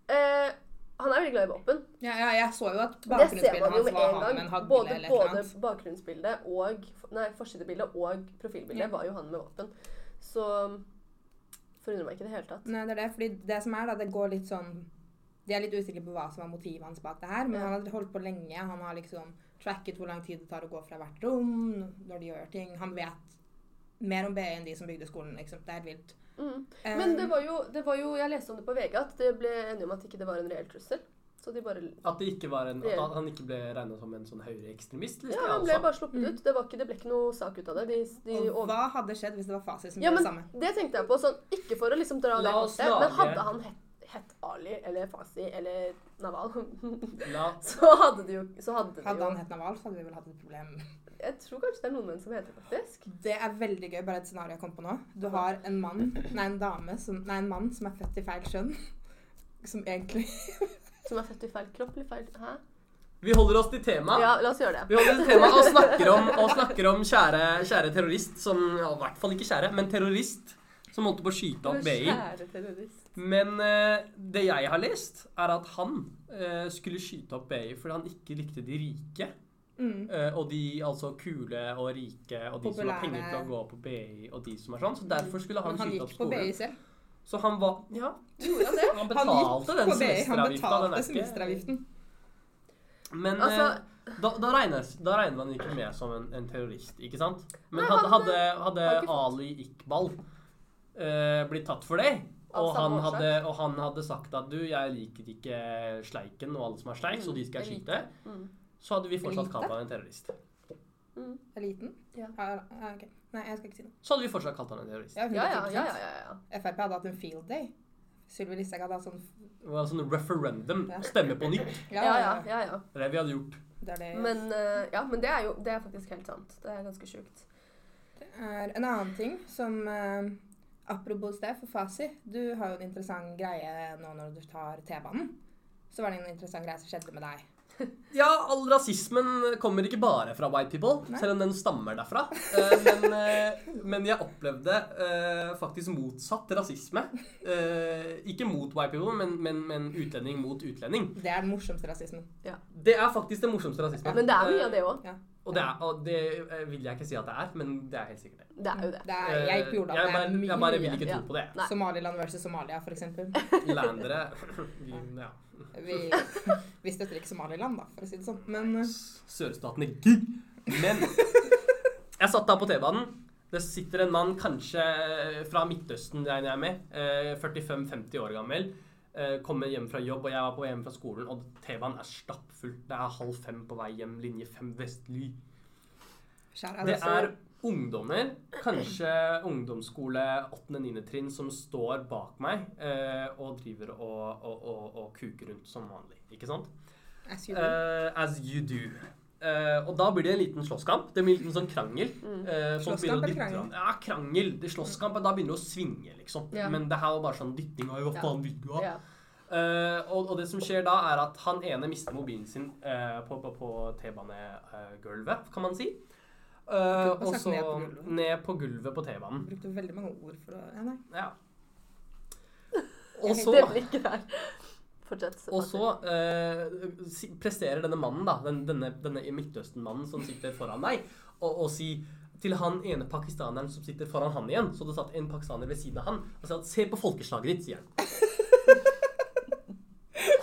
Speaker 2: Eh, han er veldig glad i våpen.
Speaker 1: Ja, ja, jeg så jo at
Speaker 2: Det ser
Speaker 1: bakgrunnsbildet
Speaker 2: man jo
Speaker 1: hans
Speaker 2: med
Speaker 1: var
Speaker 2: en
Speaker 1: han med en
Speaker 2: gang.
Speaker 1: hagle
Speaker 2: Både,
Speaker 1: eller et eller
Speaker 2: både
Speaker 1: annet.
Speaker 2: bakgrunnsbildet og Nei, forsidebildet og profilbildet
Speaker 1: Ja.
Speaker 2: var jo han med våpen. Så forundrer meg ikke i det hele tatt.
Speaker 1: Nei, det er det, fordi det som er da, det går litt sånn De er litt usikre på hva som var motivet hans bak det her, men
Speaker 2: Ja.
Speaker 1: han har holdt på lenge. Han har liksom tracket hvor lang tid det tar å gå fra hvert rom, når de gjør ting. Han vet mer om BI enn de som bygde skolen, liksom. Det er helt vilt.
Speaker 2: Mm.
Speaker 1: Eh,
Speaker 2: Men det var, jo, det var jo Jeg leste om det på VG at det ble enige om at ikke det var en reell trussel. Så de bare
Speaker 3: At, det ikke var en, at
Speaker 2: Ja.
Speaker 3: han ikke ble regna som en sånn høyreekstremist? liksom,
Speaker 2: Ja, han
Speaker 3: altså.
Speaker 2: ble bare sluppet
Speaker 1: Mm.
Speaker 2: ut. Det, var ikke, det ble ikke noe sak ut av det. De, de
Speaker 1: og
Speaker 2: over...
Speaker 1: hva hadde skjedd hvis det var Fasi som
Speaker 2: Ja,
Speaker 1: gjorde
Speaker 2: men
Speaker 1: det samme?
Speaker 2: det tenkte jeg på. Sånn, ikke for å liksom dra
Speaker 3: La
Speaker 2: det opp
Speaker 3: oss
Speaker 2: det, men
Speaker 3: lage-
Speaker 2: hadde han hett, hett Ali eller Fasi eller Naval,
Speaker 3: La,
Speaker 2: så hadde det jo, så hadde det
Speaker 1: Hadde
Speaker 2: jo
Speaker 1: han hett Naval, så hadde vi vel hatt et problem.
Speaker 2: Jeg tror kanskje det er noen menn som heter det, faktisk.
Speaker 1: Det er veldig gøy, bare et scenario jeg kom på nå. Du har en mann, nei, en dame som Nei, en mann som er født i feil kjønn. Som egentlig
Speaker 2: Som er født i feil kropp eller feil Hæ?
Speaker 3: vi holder oss til temaet.
Speaker 2: Ja, la oss gjøre
Speaker 3: Ah. Vi
Speaker 2: det.
Speaker 3: holder oss til temaet og snakker om, og snakker om kjære, kjære terrorist som ja, I hvert fall ikke kjære, men terrorist som holdt på å skyte opp BI.
Speaker 2: Kjære terrorist.
Speaker 3: Men eh, det jeg har lest, er at han eh, skulle skyte opp BI fordi han ikke likte de rike.
Speaker 1: mm,
Speaker 3: Eh, og de altså kule og rike og de som har
Speaker 1: Populære.
Speaker 3: penger til å gå på BI og de som er sånn. Så derfor skulle han,
Speaker 1: Men han
Speaker 3: skyte opp
Speaker 1: gikk på
Speaker 3: skolen.
Speaker 1: BI selv.
Speaker 3: Så han var Ja,
Speaker 2: Gjorde han det?
Speaker 3: han
Speaker 1: Han gikk
Speaker 3: betalte
Speaker 1: på
Speaker 3: den
Speaker 1: BI, han
Speaker 3: semesteravgifta. den
Speaker 1: betalte
Speaker 3: er ikke-
Speaker 1: semesteravgiften.
Speaker 3: Men
Speaker 2: Altså-
Speaker 3: eh, da, da, regnes, da regner man ikke med som en, en terrorist, ikke sant? Men
Speaker 2: Nei,
Speaker 3: hadde,
Speaker 2: han,
Speaker 3: hadde, hadde
Speaker 2: har ikke fått-
Speaker 3: Ali Iqbal eh, blitt tatt for det,
Speaker 2: Av
Speaker 3: og han,
Speaker 2: samme årsak.
Speaker 3: hadde, og han hadde sagt at du, jeg liker ikke sleiken og alle som er sleik, så de skal jeg
Speaker 2: elite.
Speaker 3: skyte,
Speaker 2: Mm.
Speaker 3: så hadde vi fortsatt
Speaker 1: Elite?
Speaker 3: kalt han en terrorist.
Speaker 2: Mm.
Speaker 1: Eliten?
Speaker 2: Ja.
Speaker 1: ja, ah, ok. Nei, jeg skal ikke si noe.
Speaker 3: Så hadde vi fortsatt kalt han en terrorist.
Speaker 1: Ja, 110%.
Speaker 2: Ja, ja, ja, ja, ja, ja.
Speaker 1: Frp hadde hatt en field day. Sylvi Listhaug hadde hatt sånn
Speaker 3: Det var sånn referendum,
Speaker 1: Ja.
Speaker 3: stemme på nytt.
Speaker 1: ja,
Speaker 2: ja, ja, ja, ja.
Speaker 3: Det er det vi hadde gjort.
Speaker 1: Det er det.
Speaker 2: Men, eh, ja, men det er jo det er faktisk helt sant. Det er ganske sjukt.
Speaker 1: Det er en annen ting som eh, Apropos det, for Fasi, du har jo en interessant greie nå når du tar T-banen. Så var det en interessant greie som skjedde med deg.
Speaker 3: Ja, all rasismen kommer ikke bare fra white people,
Speaker 1: Nei.
Speaker 3: selv om den stammer derfra. Eh, Men, eh, men jeg opplevde eh, faktisk motsatt rasisme. Eh, Ikke mot white people, men, men, men utlending mot utlending.
Speaker 1: Det er den morsomste rasismen.
Speaker 3: Det er faktisk den morsomste rasismen.
Speaker 2: Men det er mye av det òg.
Speaker 3: Og det, er, og det eh, vil jeg ikke si at det er, men det er helt sikkert
Speaker 2: Det
Speaker 3: det.
Speaker 2: er jo det.
Speaker 1: Det er, jeg gikk på Jordal.
Speaker 3: Eh,
Speaker 1: Det
Speaker 3: bare,
Speaker 1: er mye.
Speaker 3: jeg bare vil ikke
Speaker 2: mye.
Speaker 3: tro på det.
Speaker 2: Nei.
Speaker 1: Somaliland versus Somalia, for eksempel.
Speaker 3: Landere vi- ja.
Speaker 1: Vi, vi støtter ikke Somaliland, da, for å si det sånn. Men eh,
Speaker 3: Sørstatene gig. Men jeg satt da på T-banen. Det sitter en mann kanskje eh, fra Midtøsten, regner jeg med. eh, 45-50 år gammel. eh, Kommer hjem fra jobb, og jeg var på hjem fra skolen, og T-banen er stappfull. Det er halv fem på vei hjem, linje fem Vestly.
Speaker 1: skjær av
Speaker 3: Det
Speaker 1: det.
Speaker 3: er ungdommer, kanskje ungdomsskole 8.-9. trinn, som står bak meg eh, og driver og, og, og, og kuker rundt som vanlig. Ikke sant?
Speaker 1: As
Speaker 2: Mm.
Speaker 1: you do.
Speaker 3: Eh, as you do. Eh, og da blir det en liten slåsskamp. Det blir en liten sånn krangel.
Speaker 2: Mm.
Speaker 3: eh, folk begynner å
Speaker 1: Slåsskamp eller
Speaker 3: dytte
Speaker 1: krangel?
Speaker 3: hverandre. Ja, krangel. Det er slåsskamp, og da begynner det å svinge, liksom.
Speaker 2: Ja.
Speaker 3: Men det her var bare sånn dytting av hva
Speaker 2: Ja.
Speaker 3: faen vil du ha?
Speaker 2: Ja.
Speaker 3: Eh, og, og det som skjer da, er at han ene mister mobilen sin eh, på, på, på T-banegulvet, kan man si. Eh,
Speaker 1: på
Speaker 3: og så
Speaker 1: gulvet.
Speaker 3: ned på gulvet på T-banen.
Speaker 1: Brukte veldig mange ord for å ja, nei.
Speaker 3: Ja. Og så
Speaker 2: Det blikket der. Fortsett.
Speaker 3: Og så eh, si- presterer denne mannen, da, den, denne, denne Midtøsten-mannen som sitter foran meg, og, og si til han ene pakistaneren som sitter foran han igjen Så det satt en pakistaner ved siden av han og sa at 'se på folkeslaget ditt', sier han.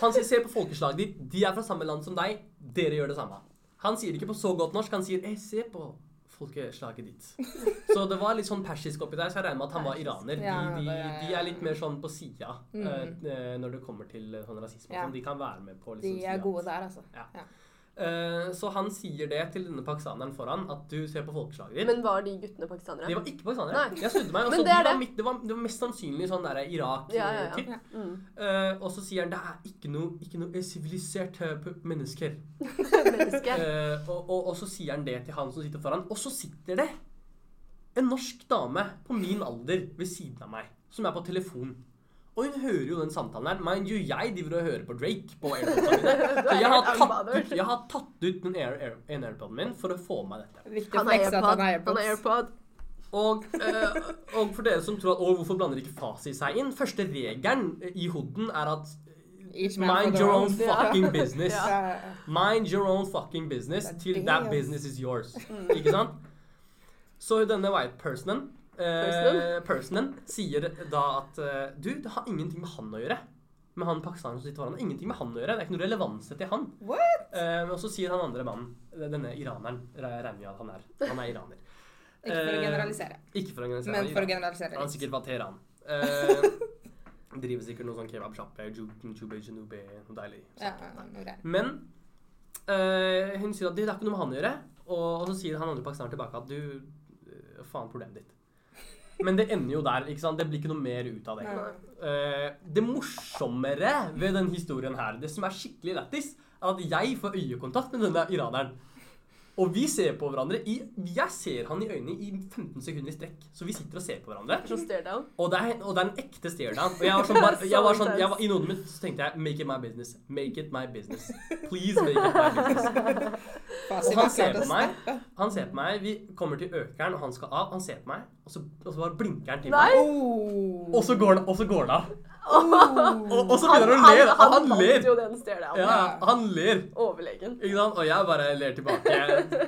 Speaker 3: Han sier 'se på folkeslaget ditt, de er fra samme land som deg, dere gjør det samme'. Han sier det ikke på så godt norsk, han sier 'ei, se på folkeslaget ditt'. Så det var litt sånn persisk oppi der, så jeg regner med at han var iraner. De,
Speaker 1: Ja,
Speaker 3: de,
Speaker 1: det-
Speaker 3: de er litt mer sånn på sida
Speaker 1: Mm.
Speaker 3: eh, når det kommer til eh, sånn rasisme. og
Speaker 1: Ja.
Speaker 3: sånn. De kan være med på
Speaker 1: De
Speaker 3: liksom,
Speaker 1: er
Speaker 3: siden.
Speaker 1: gode der, altså.
Speaker 3: Eh, Så han sier det til denne pakistaneren foran, at du ser på folkeslaget ditt.
Speaker 2: Men var de guttene pakistanere?
Speaker 3: De var ikke pakistanere.
Speaker 2: Nei.
Speaker 3: Jeg snudde meg, og
Speaker 2: Men
Speaker 3: så
Speaker 2: det
Speaker 3: de
Speaker 2: er
Speaker 3: var
Speaker 2: det.
Speaker 3: midt, det, var, det var mest sannsynlig sånn der Irak-typ.
Speaker 2: Ja, ja, ja.
Speaker 1: Ja.
Speaker 2: mm.
Speaker 3: og så sier han det er ikke noe, ikke noe sivilisert eh, p- mennesker.
Speaker 2: Menneske.
Speaker 3: Eh, og, og, og så sier han det til han som sitter foran. Og så sitter det en norsk dame på min alder ved siden av meg, som er på telefon. Og hun hører jo den samtalen her. Mind you, jeg driver og hører på Drake på airpodsa mine. Så jeg har tatt ut, jeg har tatt ut en, air, air, en airpod min for å få med dette.
Speaker 1: Viktig å
Speaker 2: Han er
Speaker 1: flekse at
Speaker 2: AirPod.
Speaker 1: han er
Speaker 2: Han er
Speaker 1: airpods.
Speaker 2: AirPod.
Speaker 3: Og, eh, og for dere som tror at Å, hvorfor blander ikke Fasi seg inn? Første regelen i Hodden er at
Speaker 1: Each man for
Speaker 3: Mind
Speaker 1: their
Speaker 3: your
Speaker 1: own.
Speaker 3: own fucking business.
Speaker 2: Ja.
Speaker 1: Ja.
Speaker 3: Mind your own fucking business till that
Speaker 1: Damn.
Speaker 3: business is yours.
Speaker 1: Mm.
Speaker 3: Ikke sant? Så denne white personen eh,
Speaker 2: Personen?
Speaker 3: personen sier da at eh, du, det har ingenting med han å gjøre. Med han pakistaneren som sitter foran. Det har Ingenting med han å gjøre. Det er ikke noe relevanse til han.
Speaker 1: What?
Speaker 3: Eh, og så sier han andre mannen, eh, denne iraneren, re- regner vi at han er. Han er iraner.
Speaker 1: Ikke for å
Speaker 3: Eh,
Speaker 1: generalisere,
Speaker 3: Ikke for å organisere
Speaker 1: men for å
Speaker 3: Iran. Han
Speaker 1: generalisere.
Speaker 3: er sikkert fra Teheran. Eh, driver sikkert noe sånn kebabsjappe, jube, janube, noe deilig.
Speaker 1: Ja, ja, ja, noe greier.
Speaker 3: Men eh, hun sier at det er ikke noe med han å gjøre. Og, og så sier han andre pakistaneren tilbake at du eh, Faen, problemet ditt. Men det ender jo der. ikke sant? Det blir ikke noe mer ut av det.
Speaker 1: Nei.
Speaker 3: Eh, det morsommere ved den historien her, det som er skikkelig lættis, er at jeg får øyekontakt med denne iraneren. Og vi ser på hverandre i Jeg ser han i øynene i 15 sekunder i strekk. Så vi sitter og ser på hverandre.
Speaker 2: Så stare down.
Speaker 3: Og det er, og det er en ekte stare down. Og jeg var sånn, bare,
Speaker 2: Så
Speaker 3: jeg var sånn jeg
Speaker 2: intenst.
Speaker 3: var, I noen minutter så tenkte jeg Make it my business. Make it my business. Please make it my business.
Speaker 1: Fasi
Speaker 3: Og han
Speaker 1: var
Speaker 3: ser
Speaker 1: klart å
Speaker 3: på meg.
Speaker 1: steppe.
Speaker 3: Han ser på meg, vi kommer til økeren, og han skal av. Han ser på meg, og så, og så bare blinker han til
Speaker 2: Nei!
Speaker 3: meg.
Speaker 1: Oh.
Speaker 3: Og så går han, og så går han av.
Speaker 1: Oh.
Speaker 3: Og, og så begynner han å le. Og han
Speaker 2: vant
Speaker 3: ler.
Speaker 2: jo den stare down.
Speaker 3: Ja, han ler.
Speaker 2: Overlegen.
Speaker 3: Ikke sant? Og jeg bare ler tilbake,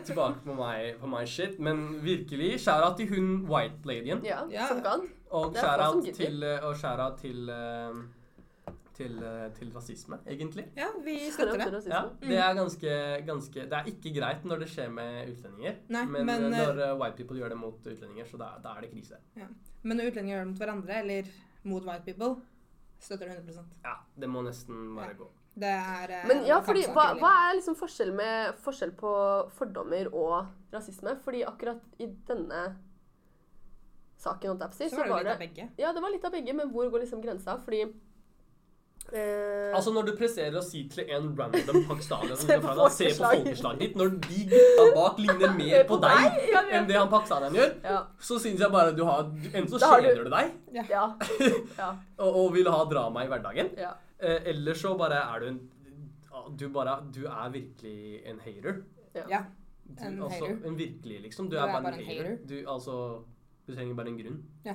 Speaker 3: tilbake på, meg, på my shit. Men virkelig, shout-out til hun white ladyen.
Speaker 2: Ja,
Speaker 1: Ja.
Speaker 2: som kan.
Speaker 3: Og
Speaker 2: Det er folk som
Speaker 3: shout-out
Speaker 2: gidder.
Speaker 3: til, eh, og shout-out til, eh, til, eh, til rasisme, egentlig.
Speaker 1: Ja, vi støtter det.
Speaker 2: Rasisme.
Speaker 3: Ja, liksom. det er ganske, ganske Det er ikke greit når det skjer med utlendinger.
Speaker 1: Nei,
Speaker 3: men
Speaker 1: men,
Speaker 3: eh,
Speaker 1: eh,
Speaker 3: når eh, white people gjør det mot utlendinger, så da, da er det krise.
Speaker 1: Men når utlendinger gjør det mot hverandre, eller mot white people, støtter det 100
Speaker 3: Ja, det må nesten bare gå.
Speaker 1: Det er eh,
Speaker 2: Men ja, fordi
Speaker 1: kampsak,
Speaker 2: hva,
Speaker 1: eller?
Speaker 2: hva er liksom forskjell, med, forskjell på fordommer og rasisme? Fordi akkurat i denne saken, holdt jeg på å si,
Speaker 1: Så var det jo litt av
Speaker 2: det
Speaker 1: begge.
Speaker 2: Ja, det var litt av begge, men hvor går liksom grensa? Fordi eh,
Speaker 3: Altså Når du presterer å si til en random pakistaner
Speaker 2: Se
Speaker 3: som sitter
Speaker 2: på
Speaker 3: foran deg, se på
Speaker 2: folkeslaget.
Speaker 3: folkeslaget ditt, når de gutta bak ligner mer
Speaker 2: Se
Speaker 3: på
Speaker 2: eh, på
Speaker 3: deg
Speaker 2: deg, jeg vet.
Speaker 3: enn det han pakistaneren gjør,
Speaker 2: ja,
Speaker 3: så syns jeg bare du har du- Enten så
Speaker 2: Da har du-
Speaker 3: kjeder du deg
Speaker 2: ja, ja,
Speaker 3: og, og vil ha drama i hverdagen,
Speaker 2: ja.
Speaker 3: eh, eller så bare er du en Du, bare, du er virkelig en hater.
Speaker 1: Ja.
Speaker 3: Du,
Speaker 1: En
Speaker 3: altså,
Speaker 1: hater.
Speaker 3: En virkelig, liksom. Du, er, bare en hater.
Speaker 1: hater.
Speaker 3: Du, altså, du trenger bare en grunn.
Speaker 1: ja,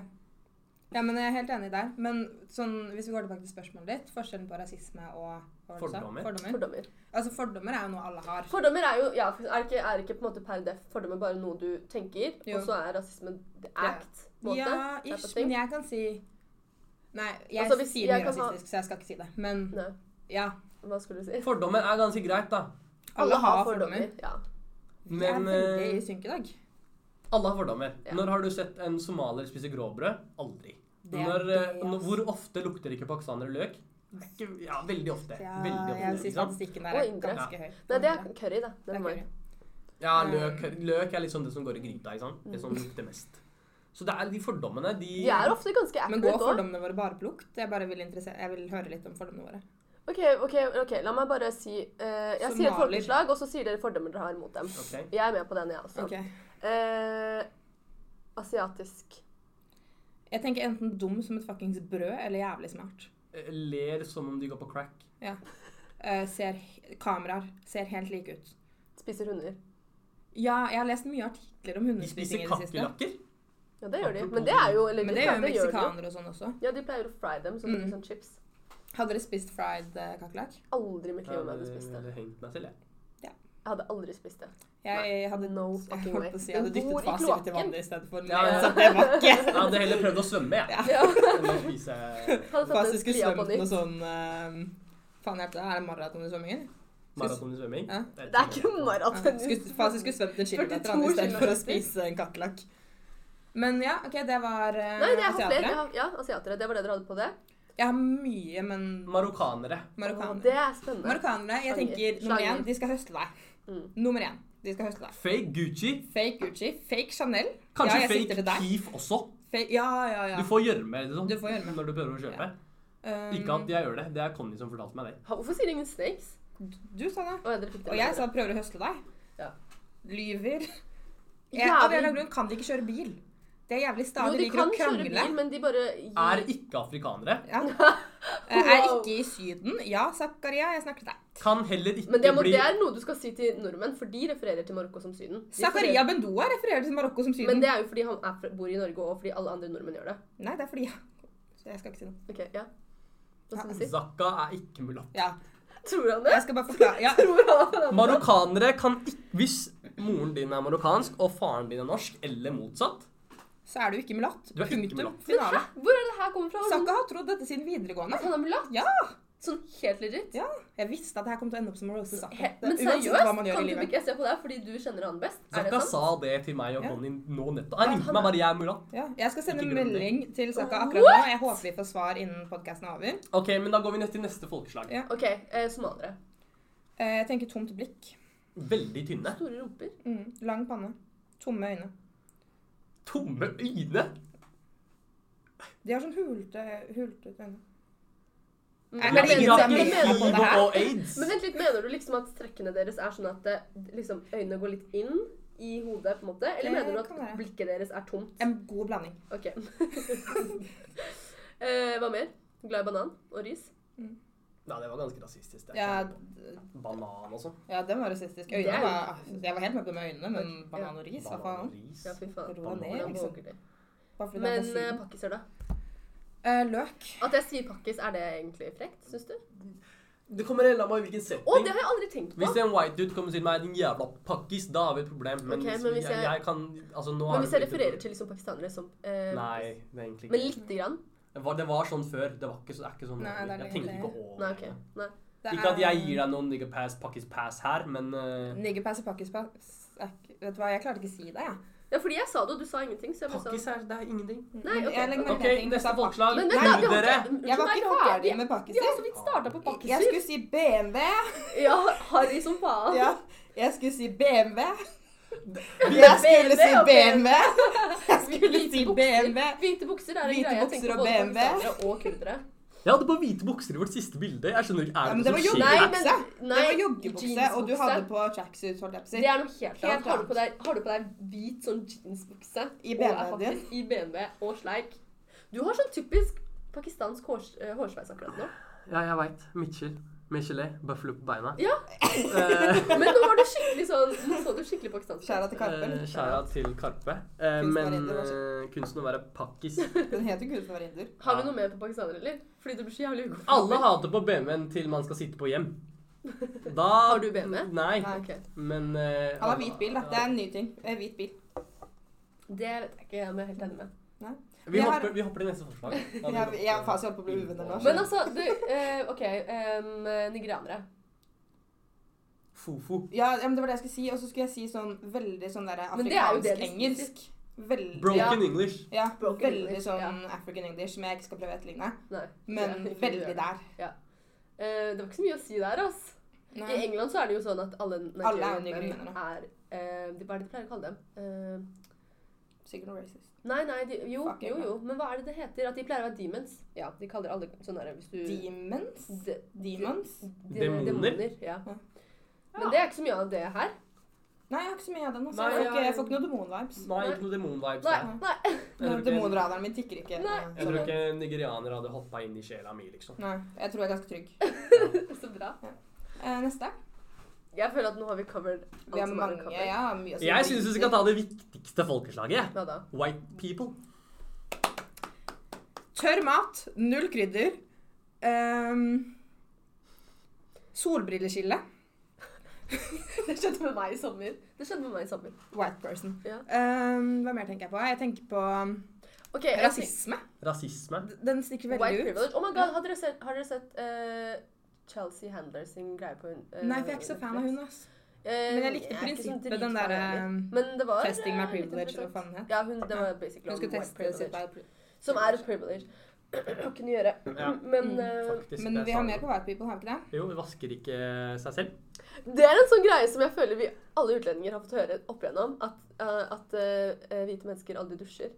Speaker 1: men jeg er helt enig der. Men sånn, hvis vi går tilbake til spørsmålet ditt, forskjellen på rasisme og hva var det du sa?
Speaker 3: Fordommer.
Speaker 1: fordommer.
Speaker 2: Fordommer.
Speaker 1: Altså, fordommer er jo noe alle har.
Speaker 2: Fordommer er jo ja, for er, ikke, er ikke på en måte per def fordommer bare noe du tenker,
Speaker 1: Jo.
Speaker 2: og så er rasisme the act? på en måte,
Speaker 1: Ja,
Speaker 2: type
Speaker 1: ish,
Speaker 2: thing.
Speaker 1: men jeg kan si Nei, jeg
Speaker 2: Altså, hvis
Speaker 1: sier mye
Speaker 2: jeg kan ha-
Speaker 1: rasistisk, så jeg skal ikke si det. Men
Speaker 2: Nei,
Speaker 1: ja,
Speaker 2: hva skulle du si?
Speaker 3: Fordommer er ganske greit, da.
Speaker 1: alle har fordommer.
Speaker 2: Ja.
Speaker 1: Vi er
Speaker 3: Men
Speaker 1: veldig i
Speaker 3: eh,
Speaker 1: synk i dag.
Speaker 3: alle har fordommer.
Speaker 2: Ja.
Speaker 3: Når har du sett en somalier spise grovbrød? Aldri.
Speaker 1: Det er
Speaker 3: Når, eh,
Speaker 1: det,
Speaker 3: når-
Speaker 1: ass.
Speaker 3: hvor ofte lukter ikke pakistanere løk? Ikke- Ja, veldig ofte.
Speaker 1: Ja,
Speaker 3: Veldig ofte
Speaker 1: jeg synes
Speaker 3: ikke sant?
Speaker 1: statistikken der
Speaker 2: Og
Speaker 1: er
Speaker 2: indre.
Speaker 1: ganske høy.
Speaker 2: Nei, det er curry, da.
Speaker 1: Det er
Speaker 2: Den var
Speaker 1: curry.
Speaker 3: Ja, løk, løk er liksom det som går i gryta. ikke sant? Det som
Speaker 1: Mm.
Speaker 3: lukter mest. Så det er de fordommene de
Speaker 2: De er ofte ganske
Speaker 1: Men går
Speaker 2: accurate òg.
Speaker 1: fordommene våre bare på lukt? Jeg bare vil, interessere- jeg vil høre litt om fordommene våre.
Speaker 2: OK, ok, ok, la meg bare si eh, Jeg sier
Speaker 1: Somalier.
Speaker 2: et folkeslag, og så sier dere fordommer dere har mot dem.
Speaker 3: Ok.
Speaker 2: Jeg er med på den, jeg også.
Speaker 1: Ok.
Speaker 2: Eh, asiatisk.
Speaker 1: Jeg tenker enten dum som et fuckings brød, eller jævlig smart.
Speaker 3: Eh, Ler som om de går på crack.
Speaker 1: Ja. Eh, ser he- Kameraer ser helt like ut.
Speaker 2: Spiser hunder.
Speaker 1: Ja, jeg har lest mye artikler om
Speaker 3: De spiser
Speaker 1: hundespising i det siste.
Speaker 3: kakerlakker.
Speaker 2: Ja, det gjør de.
Speaker 3: Apropos
Speaker 2: Men det er jo eller,
Speaker 1: Men det
Speaker 2: ja,
Speaker 1: gjør jo
Speaker 2: det gjør de jo.
Speaker 1: meksikanere og sånn også.
Speaker 2: Ja, de pleier å fry dem, så det blir
Speaker 1: Mm.
Speaker 2: sånn chips.
Speaker 1: Hadde dere spist fried eh, kakerlakk?
Speaker 2: Aldri i mitt
Speaker 3: Jeg
Speaker 2: liv om jeg
Speaker 3: hadde
Speaker 2: hadde spist det.
Speaker 3: hengt meg selv, jeg.
Speaker 2: Jeg hadde aldri spist det.
Speaker 1: Jeg hadde
Speaker 2: No
Speaker 1: jeg
Speaker 2: fucking way.
Speaker 1: holdt på å si, jeg hadde
Speaker 2: Den bor
Speaker 1: dyttet
Speaker 2: i
Speaker 1: fasit
Speaker 2: kloakken.
Speaker 1: i vannet i stedet for. Men
Speaker 3: Ja, ja.
Speaker 1: så det var
Speaker 3: Jeg
Speaker 1: ikke
Speaker 3: hadde heller prøvd å svømme, jeg.
Speaker 1: Ja.
Speaker 2: Ja.
Speaker 3: Enn å spise
Speaker 2: Hadde tatt
Speaker 1: Fasit
Speaker 2: en
Speaker 1: skulle
Speaker 2: sklia på
Speaker 1: svømt noe
Speaker 2: nytt.
Speaker 1: sånn uh, Faen hjelpe deg, er det maraton i svømmingen?
Speaker 3: maraton i svømming.
Speaker 1: Ja.
Speaker 2: Det er ikke maraton.
Speaker 1: Skulle- Fasit skulle svømt en kilometer han, i
Speaker 2: 42
Speaker 1: stedet for å
Speaker 2: kilometer.
Speaker 1: spise en kakerlakk. Men ja, OK, det var uh,
Speaker 2: Nei, det er flere. Jeg
Speaker 1: asiatere.
Speaker 2: har- Ja, asiatere. Det var det dere hadde på det?
Speaker 1: Jeg har mye, men
Speaker 3: Marokkanere.
Speaker 2: Å,
Speaker 1: marokkanere.
Speaker 2: Det er spennende.
Speaker 1: Marokkanere, jeg
Speaker 2: Slanger.
Speaker 1: tenker nummer
Speaker 2: Slanger.
Speaker 1: én, de skal høste deg.
Speaker 2: Mm.
Speaker 1: Nummer én, de skal høste deg.
Speaker 3: Fake Gucci.
Speaker 1: Fake Gucci, fake Chanel.
Speaker 3: Kanskje
Speaker 1: ja, jeg sikter
Speaker 3: fake
Speaker 1: til deg.
Speaker 3: Keef også.
Speaker 1: Fake, ja, ja, ja.
Speaker 3: Du får gjørme eller
Speaker 1: Du
Speaker 3: sånn
Speaker 1: får gjørme.
Speaker 3: når du prøver å kjøpe.
Speaker 1: Um,
Speaker 3: Ikke at jeg gjør det. Det er Conny som fortalte meg det.
Speaker 2: Ha- Hvorfor sier ingen snakes?
Speaker 1: Du sa det.
Speaker 2: Å, ja, dere fikk det
Speaker 1: Og
Speaker 2: med
Speaker 1: jeg
Speaker 2: dere.
Speaker 1: sa prøver å høste deg.
Speaker 2: Ja.
Speaker 1: Lyver. Jeg,
Speaker 2: Jævlig-
Speaker 1: av en eller annen grunn kan de ikke kjøre bil. De er jævlig sta.
Speaker 2: Jo,
Speaker 1: De
Speaker 2: de
Speaker 1: liker
Speaker 2: kan
Speaker 1: å
Speaker 2: kjøre
Speaker 1: krangle.
Speaker 2: bil, men de bare
Speaker 3: Er ikke afrikanere.
Speaker 1: Ja. Eh, Er
Speaker 2: Wow.
Speaker 1: ikke i Syden. Ja, Zakaria, jeg snakker til deg.
Speaker 3: Kan heller ikke
Speaker 2: Men det, må,
Speaker 3: bli
Speaker 2: det er noe du skal si til nordmenn, for de refererer til Marokko som Syden. De
Speaker 1: Zakaria Bendoa refererer til Marokko som Syden.
Speaker 2: refererer- Men det er jo fordi han er, fra- bor i Norge, og fordi alle andre nordmenn gjør det.
Speaker 1: Nei, det er fordi Så Jeg skal ikke si noe.
Speaker 2: Ok, ja. Hva skal du si?
Speaker 3: Zakka er ikke mulatt.
Speaker 1: Ja,
Speaker 2: Tror han
Speaker 1: jeg
Speaker 2: det?
Speaker 1: skal bare forklare. Ja,
Speaker 2: Tror han at han er
Speaker 3: Marokkanere kan ikke Hvis moren din er marokkansk, og faren din er norsk, eller motsatt
Speaker 1: så er du ikke mulatt.
Speaker 3: Du er ikke
Speaker 1: Punktum.
Speaker 3: mulatt.
Speaker 2: Men hæ?
Speaker 1: Finale.
Speaker 2: Hvor er det her kommer fra? Sånn,
Speaker 1: Zakka har trodd dette siden videregående.
Speaker 2: at han er mulatt?
Speaker 1: Ja.
Speaker 2: Sånn helt legit?
Speaker 1: Ja, jeg visste at det her kom til å ende opp som å roaste Zakka.
Speaker 2: He- Men
Speaker 1: Det- uansett hva man
Speaker 2: seriøst,
Speaker 1: gjør i
Speaker 2: kan du
Speaker 1: livet.
Speaker 2: ikke se på deg fordi du kjenner han best? Er
Speaker 3: Zakka
Speaker 2: det sant?
Speaker 3: sa det til meg og
Speaker 1: Ja.
Speaker 3: Conny nå nettopp. Han
Speaker 2: Ja,
Speaker 3: ringte
Speaker 2: han
Speaker 3: meg
Speaker 2: er-
Speaker 3: bare 'jeg er mulatt'.
Speaker 1: Ja, jeg skal sende en
Speaker 3: Ikke grunn til.
Speaker 1: melding til Saka akkurat nå. Jeg håper vi får svar innen podkasten er over.
Speaker 3: Ok, men da går vi ned til neste folkeslag.
Speaker 1: Ja.
Speaker 2: Ok, eh, somaliere.
Speaker 1: Eh, Jeg tenker tomt blikk.
Speaker 3: Veldig tynne.
Speaker 2: Store rumper.
Speaker 1: Mm. Lang panne. Tomme øyne.
Speaker 3: Tomme øyne.
Speaker 1: De har sånn hulte, hultet øyne. Er
Speaker 2: Men
Speaker 1: det
Speaker 2: jeg mener-
Speaker 1: ingen som
Speaker 2: jeg
Speaker 1: er
Speaker 2: mener-
Speaker 1: med på det her?
Speaker 3: Hiv og aids.
Speaker 2: Men vent litt, mener du liksom at trekkene deres er sånn at eh, liksom, øynene går litt inn i hodet, på en måte? Eller
Speaker 1: Det
Speaker 2: mener du
Speaker 1: kan være.
Speaker 2: at blikket deres er tomt?
Speaker 1: En god blanding.
Speaker 2: Ok. eh, hva mer? Glad i banan og ris?
Speaker 3: Nei, det var ganske rasistisk. Det.
Speaker 1: Ja,
Speaker 3: er ikke Banan og sånn.
Speaker 1: ja den var rasistisk.
Speaker 2: Det
Speaker 1: Øynene
Speaker 2: er-
Speaker 1: var, jeg var helt med på med øynene, men
Speaker 2: Ja.
Speaker 1: banan og ris, hva
Speaker 3: Banan
Speaker 1: faen?
Speaker 3: og ris.
Speaker 2: Ja, fy faen.
Speaker 1: Ro
Speaker 3: Banan.
Speaker 1: ned,
Speaker 2: Hvordan
Speaker 1: liksom.
Speaker 2: våger de?
Speaker 1: Bare fordi det er
Speaker 2: Men
Speaker 1: fra
Speaker 2: eh,
Speaker 1: Syden.
Speaker 2: pakkiser, da?
Speaker 1: Eh, Løk.
Speaker 2: At jeg sier pakkis, er det egentlig frekt, syns du? Å,
Speaker 3: Det kommer helt an på i hvilken setting.
Speaker 2: det har jeg aldri tenkt på!
Speaker 3: Hvis en white dude kommer og sier meg din jævla pakkis, da har vi et problem. Men,
Speaker 2: Ok,
Speaker 3: hvis,
Speaker 2: men hvis
Speaker 3: jeg,
Speaker 2: jeg-
Speaker 3: jeg kan Altså, nå
Speaker 2: Men
Speaker 3: har
Speaker 2: hvis jeg refererer til liksom pakistanere som eh,
Speaker 3: Nei, det er egentlig
Speaker 2: Men
Speaker 3: ikke
Speaker 2: lite grann?
Speaker 3: det. Var, det var sånn før. Det var ikke, så, det er ikke sånn
Speaker 1: Nei,
Speaker 3: nå.
Speaker 1: det er det
Speaker 3: Jeg tenker
Speaker 1: egentlig.
Speaker 3: ikke over
Speaker 2: Nei, OK. Nei.
Speaker 1: Det
Speaker 3: Ikke at jeg
Speaker 1: er- Mm,
Speaker 3: gir deg noen nigger pass, pakkis pass her, men eh,
Speaker 1: Niggerpass og pakkispass er ikke- Vet du hva, jeg klarte ikke å si det, jeg.
Speaker 2: Ja, fordi jeg sa det, og du sa ingenting, så jeg bare
Speaker 3: Pakkis
Speaker 2: sa
Speaker 3: er Det er ingenting.
Speaker 2: Nei, ok.
Speaker 1: Jeg legger merke
Speaker 3: Ok,
Speaker 1: til at du
Speaker 3: neste
Speaker 1: sa pakk-
Speaker 3: folkeslag.
Speaker 2: Men
Speaker 1: Nei,
Speaker 2: vent, da! Vi har
Speaker 3: Dere!
Speaker 2: ikke
Speaker 1: Jeg var
Speaker 2: Unnskyld meg,
Speaker 1: ikke
Speaker 2: vi har
Speaker 1: ferdig med
Speaker 2: Vi har
Speaker 1: pakkiser.
Speaker 2: så vidt starta på
Speaker 1: Jeg
Speaker 2: pakkiser.
Speaker 1: skulle si BMW.
Speaker 2: Ja, harry som faen.
Speaker 1: Ja, jeg skulle si BMW.
Speaker 2: Ja,
Speaker 1: Jeg skulle si
Speaker 2: BMW,
Speaker 1: BMW. Jeg skulle
Speaker 2: Hvite
Speaker 1: si
Speaker 2: bukser.
Speaker 1: BMW.
Speaker 2: Hvite bukser er en
Speaker 1: Hvite
Speaker 2: greie jeg
Speaker 1: bukser
Speaker 2: tenker
Speaker 1: og
Speaker 2: på både
Speaker 1: BMW.
Speaker 2: pakistanere og kurdere.
Speaker 3: Jeg hadde på hvite bukser i vårt siste bilde. Jeg skjønner ikke,
Speaker 1: Ja,
Speaker 3: Er
Speaker 1: men
Speaker 3: det
Speaker 1: det
Speaker 3: noe
Speaker 1: var
Speaker 3: som
Speaker 1: jo-
Speaker 3: skjer?
Speaker 1: Nei,
Speaker 3: her?
Speaker 1: men- Det var joggebukse, og du
Speaker 2: jeansbukse.
Speaker 1: hadde på tracksuit, holdt jeg på å si.
Speaker 2: Det er noe helt
Speaker 1: Helt
Speaker 2: annet. Har du på deg, har du på deg hvit sånn jeansbukse
Speaker 1: I
Speaker 2: og er
Speaker 1: BMW-en din?
Speaker 2: faktisk I BMW og sleik. Du har sånn typisk pakistansk hårs, eh, hårsveis akkurat nå.
Speaker 3: Ja, jeg veit. Mitchell. Michelet. Bøffel på beina.
Speaker 2: Ja.
Speaker 3: Eh,
Speaker 2: Men nå var du skikkelig sånn Nå så du skikkelig pakistansk
Speaker 1: Skjæra til Karpen.
Speaker 3: Eh, Kjære til Karpe. Eh,
Speaker 1: Kunsten
Speaker 3: men
Speaker 1: være inder, altså.
Speaker 3: eh, kunsten å være pakkis
Speaker 1: Den heter jo Kunsten å være inder.
Speaker 2: Har vi noe mer på pakistanere, eller? Fordi du blir så jævlig ugod.
Speaker 3: Alle hater på BMW-en til man skal sitte på hjem. Da
Speaker 2: Har du BMW?
Speaker 3: Nei,
Speaker 1: Nei.
Speaker 2: Ok.
Speaker 3: men eh,
Speaker 1: Han har hvit bil, da. Det er en ny ting. Eh, Hvit bil.
Speaker 2: Det vet jeg ikke om jeg er helt enig med.
Speaker 3: Vi
Speaker 1: Jeg har-
Speaker 3: hopper, vi hopper til neste forslag.
Speaker 1: Jeg, jeg, jeg faen, jeg holdt på å bli uvenner nå.
Speaker 2: Men altså, du eh, OK. em, nigerianere.
Speaker 3: Fofo.
Speaker 1: Ja, ja, men det var det jeg skulle si. Og så skulle jeg si sånn veldig sånn derre
Speaker 2: Men det er jo det de
Speaker 1: afrikansk-engelsk. Veldig
Speaker 3: Broken English.
Speaker 1: Ja,
Speaker 2: Broken
Speaker 1: veldig
Speaker 2: English,
Speaker 1: sånn African English, som jeg ikke skal prøve å etterligne.
Speaker 2: Nei.
Speaker 1: Men
Speaker 2: Ja, ikke
Speaker 1: veldig
Speaker 2: gjør det.
Speaker 1: der.
Speaker 2: Eh, det var ikke så mye å si der, ass. I
Speaker 1: Nei.
Speaker 2: England så er det jo sånn at alle
Speaker 1: Alle er jo
Speaker 2: nigerianere
Speaker 1: nigerianere.
Speaker 2: er eh, de- Hva er det de pleier å kalle dem? Eh,
Speaker 1: Sikkert noe racist.
Speaker 2: Nei, nei, de, jo,
Speaker 1: Fuck,
Speaker 2: jo,
Speaker 1: ja.
Speaker 2: jo. Men hva er det det heter? At de pleier å være demons? Ja, de kaller alle sånn der hvis du
Speaker 1: Demons?
Speaker 2: de,
Speaker 1: Demons?
Speaker 2: de-
Speaker 3: Demoner?
Speaker 2: ja.
Speaker 1: Ja.
Speaker 2: Men det er ikke så mye av det her.
Speaker 1: Nei, jeg har ikke så mye av den. Altså.
Speaker 3: Nei,
Speaker 1: jeg, får ikke,
Speaker 2: jeg-
Speaker 1: jeg får ikke noe demon-vibes.
Speaker 3: Nei, ikke noe demon-vibes
Speaker 2: Nei,
Speaker 3: der.
Speaker 2: nei.
Speaker 3: Jeg tror, ikke,
Speaker 1: Demonradaren min tikker ikke.
Speaker 2: Nei.
Speaker 3: jeg tror ikke nigerianere hadde hoppa inn i sjela mi, liksom.
Speaker 1: Nei, jeg tror jeg er ganske trygg.
Speaker 2: Så bra.
Speaker 1: Eh, neste.
Speaker 2: Jeg føler at nå har vi covered alt
Speaker 1: Vi har
Speaker 2: som er å
Speaker 1: mange.
Speaker 2: cover.
Speaker 1: Jeg har mye å si.
Speaker 3: Jeg syns vi skal ta det viktigste folkeslaget.
Speaker 2: Hva da?
Speaker 3: White people.
Speaker 1: Tørr mat, null krydder. Um, solbrilleskille.
Speaker 2: Det skjedde med meg i sommer. Det skjedde med meg i sommer.
Speaker 1: White person.
Speaker 2: Ja.
Speaker 1: Ehm, hva mer tenker jeg på? Jeg tenker på um,
Speaker 2: Ok, jeg
Speaker 1: rasisme.
Speaker 3: Rasisme.
Speaker 1: D- Den stikker
Speaker 2: tenker-
Speaker 1: veldig
Speaker 2: White
Speaker 1: ut.
Speaker 2: privilege. Oh my god, har dere sett, har dere sett eh, Chelsea Handler sin greie på hun? eh,
Speaker 1: Nei, for jeg er ikke så fan av hun. ass.
Speaker 2: Eh,
Speaker 1: Men jeg likte
Speaker 2: er ikke sånn
Speaker 1: prinsippet, den
Speaker 2: dritfan
Speaker 1: der,
Speaker 2: av henne.
Speaker 1: eh,
Speaker 2: Men det var,
Speaker 1: testing my
Speaker 2: eh, litt
Speaker 1: privilege, eller
Speaker 2: interessant.
Speaker 1: hva faen den het.
Speaker 2: Ja, hun, det var basically
Speaker 1: Hun
Speaker 2: om
Speaker 1: skulle
Speaker 2: white
Speaker 1: teste sitt
Speaker 2: privilege.
Speaker 1: white pri-
Speaker 2: Som er et privilege. Kan ikke gjøre.
Speaker 3: Ja.
Speaker 2: Men
Speaker 1: Mm,
Speaker 2: eh,
Speaker 3: Faktisk.
Speaker 1: Men
Speaker 3: det
Speaker 1: vi
Speaker 3: sa
Speaker 1: har
Speaker 3: hun.
Speaker 1: mer på white people, har vi ikke det?
Speaker 3: Jo, hun vasker ikke seg selv.
Speaker 2: det er en sånn greie som jeg føler vi alle utlendinger har fått høre opp igjennom. At, eh, at eh, hvite mennesker aldri dusjer.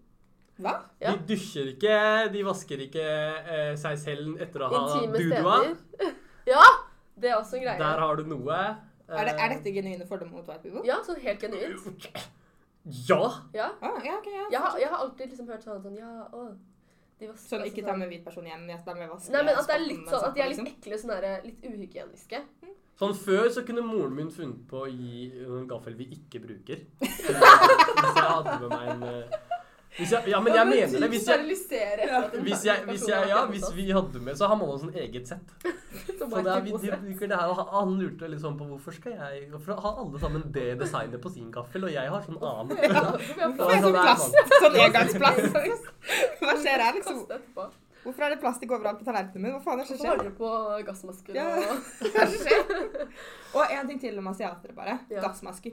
Speaker 1: Hva?
Speaker 2: Ja.
Speaker 3: De dusjer ikke, de vasker ikke eh, seg selv etter å ha
Speaker 2: Intime
Speaker 3: dudua.
Speaker 2: steder. ja! Det er også en greie.
Speaker 3: ah. Der ah. har du noe.
Speaker 1: Er, det, er
Speaker 2: Um,
Speaker 1: dette genuine fordommer mot white people?
Speaker 2: Ja, sånn helt genuint.
Speaker 3: Eh, Ja!
Speaker 2: Ja.
Speaker 1: Ah, ja, ok, ja.
Speaker 2: Jeg, har- jeg har alltid liksom hørt sånn, sånn Ja, å de vasker
Speaker 1: Sånn,
Speaker 2: altså
Speaker 1: ikke ta med hvit person hjem. Jeg tar med vaske,
Speaker 2: Nei, men at det er
Speaker 1: skotten
Speaker 2: litt
Speaker 1: med
Speaker 2: sånn at de er
Speaker 1: soppen,
Speaker 2: litt ekle, sånn der, litt uhygieniske.
Speaker 3: Sånn Før så kunne moren min funnet på å gi en gaffel vi ikke bruker. Hvis jeg hadde med meg en eh, hvis jeg, Ja, men jeg mener det. Hvis jeg, hvis jeg, hvis jeg, ja, hvis vi hadde med, så har man også en eget sett. Så det er, vi de bruker det her, og Han lurte liksom på hvorfor skal jeg Hvorfor har alle sammen det designet på sin gaffel, og jeg har sånn annen?
Speaker 1: Hvorfor er det sånn
Speaker 3: Det er sånn.
Speaker 1: plast? Sånn engangsplast? Hva skjer her, liksom?
Speaker 2: Hvorfor
Speaker 1: Hvorfor er det plastikk overalt på tallerkenen min? Hva faen er det som
Speaker 2: har
Speaker 1: skjer?
Speaker 2: dere på gassmasker
Speaker 1: Ja.
Speaker 2: og
Speaker 1: Hva er det som skjer? Og en ting til om asiatere, bare.
Speaker 2: Ja.
Speaker 1: Gassmasker.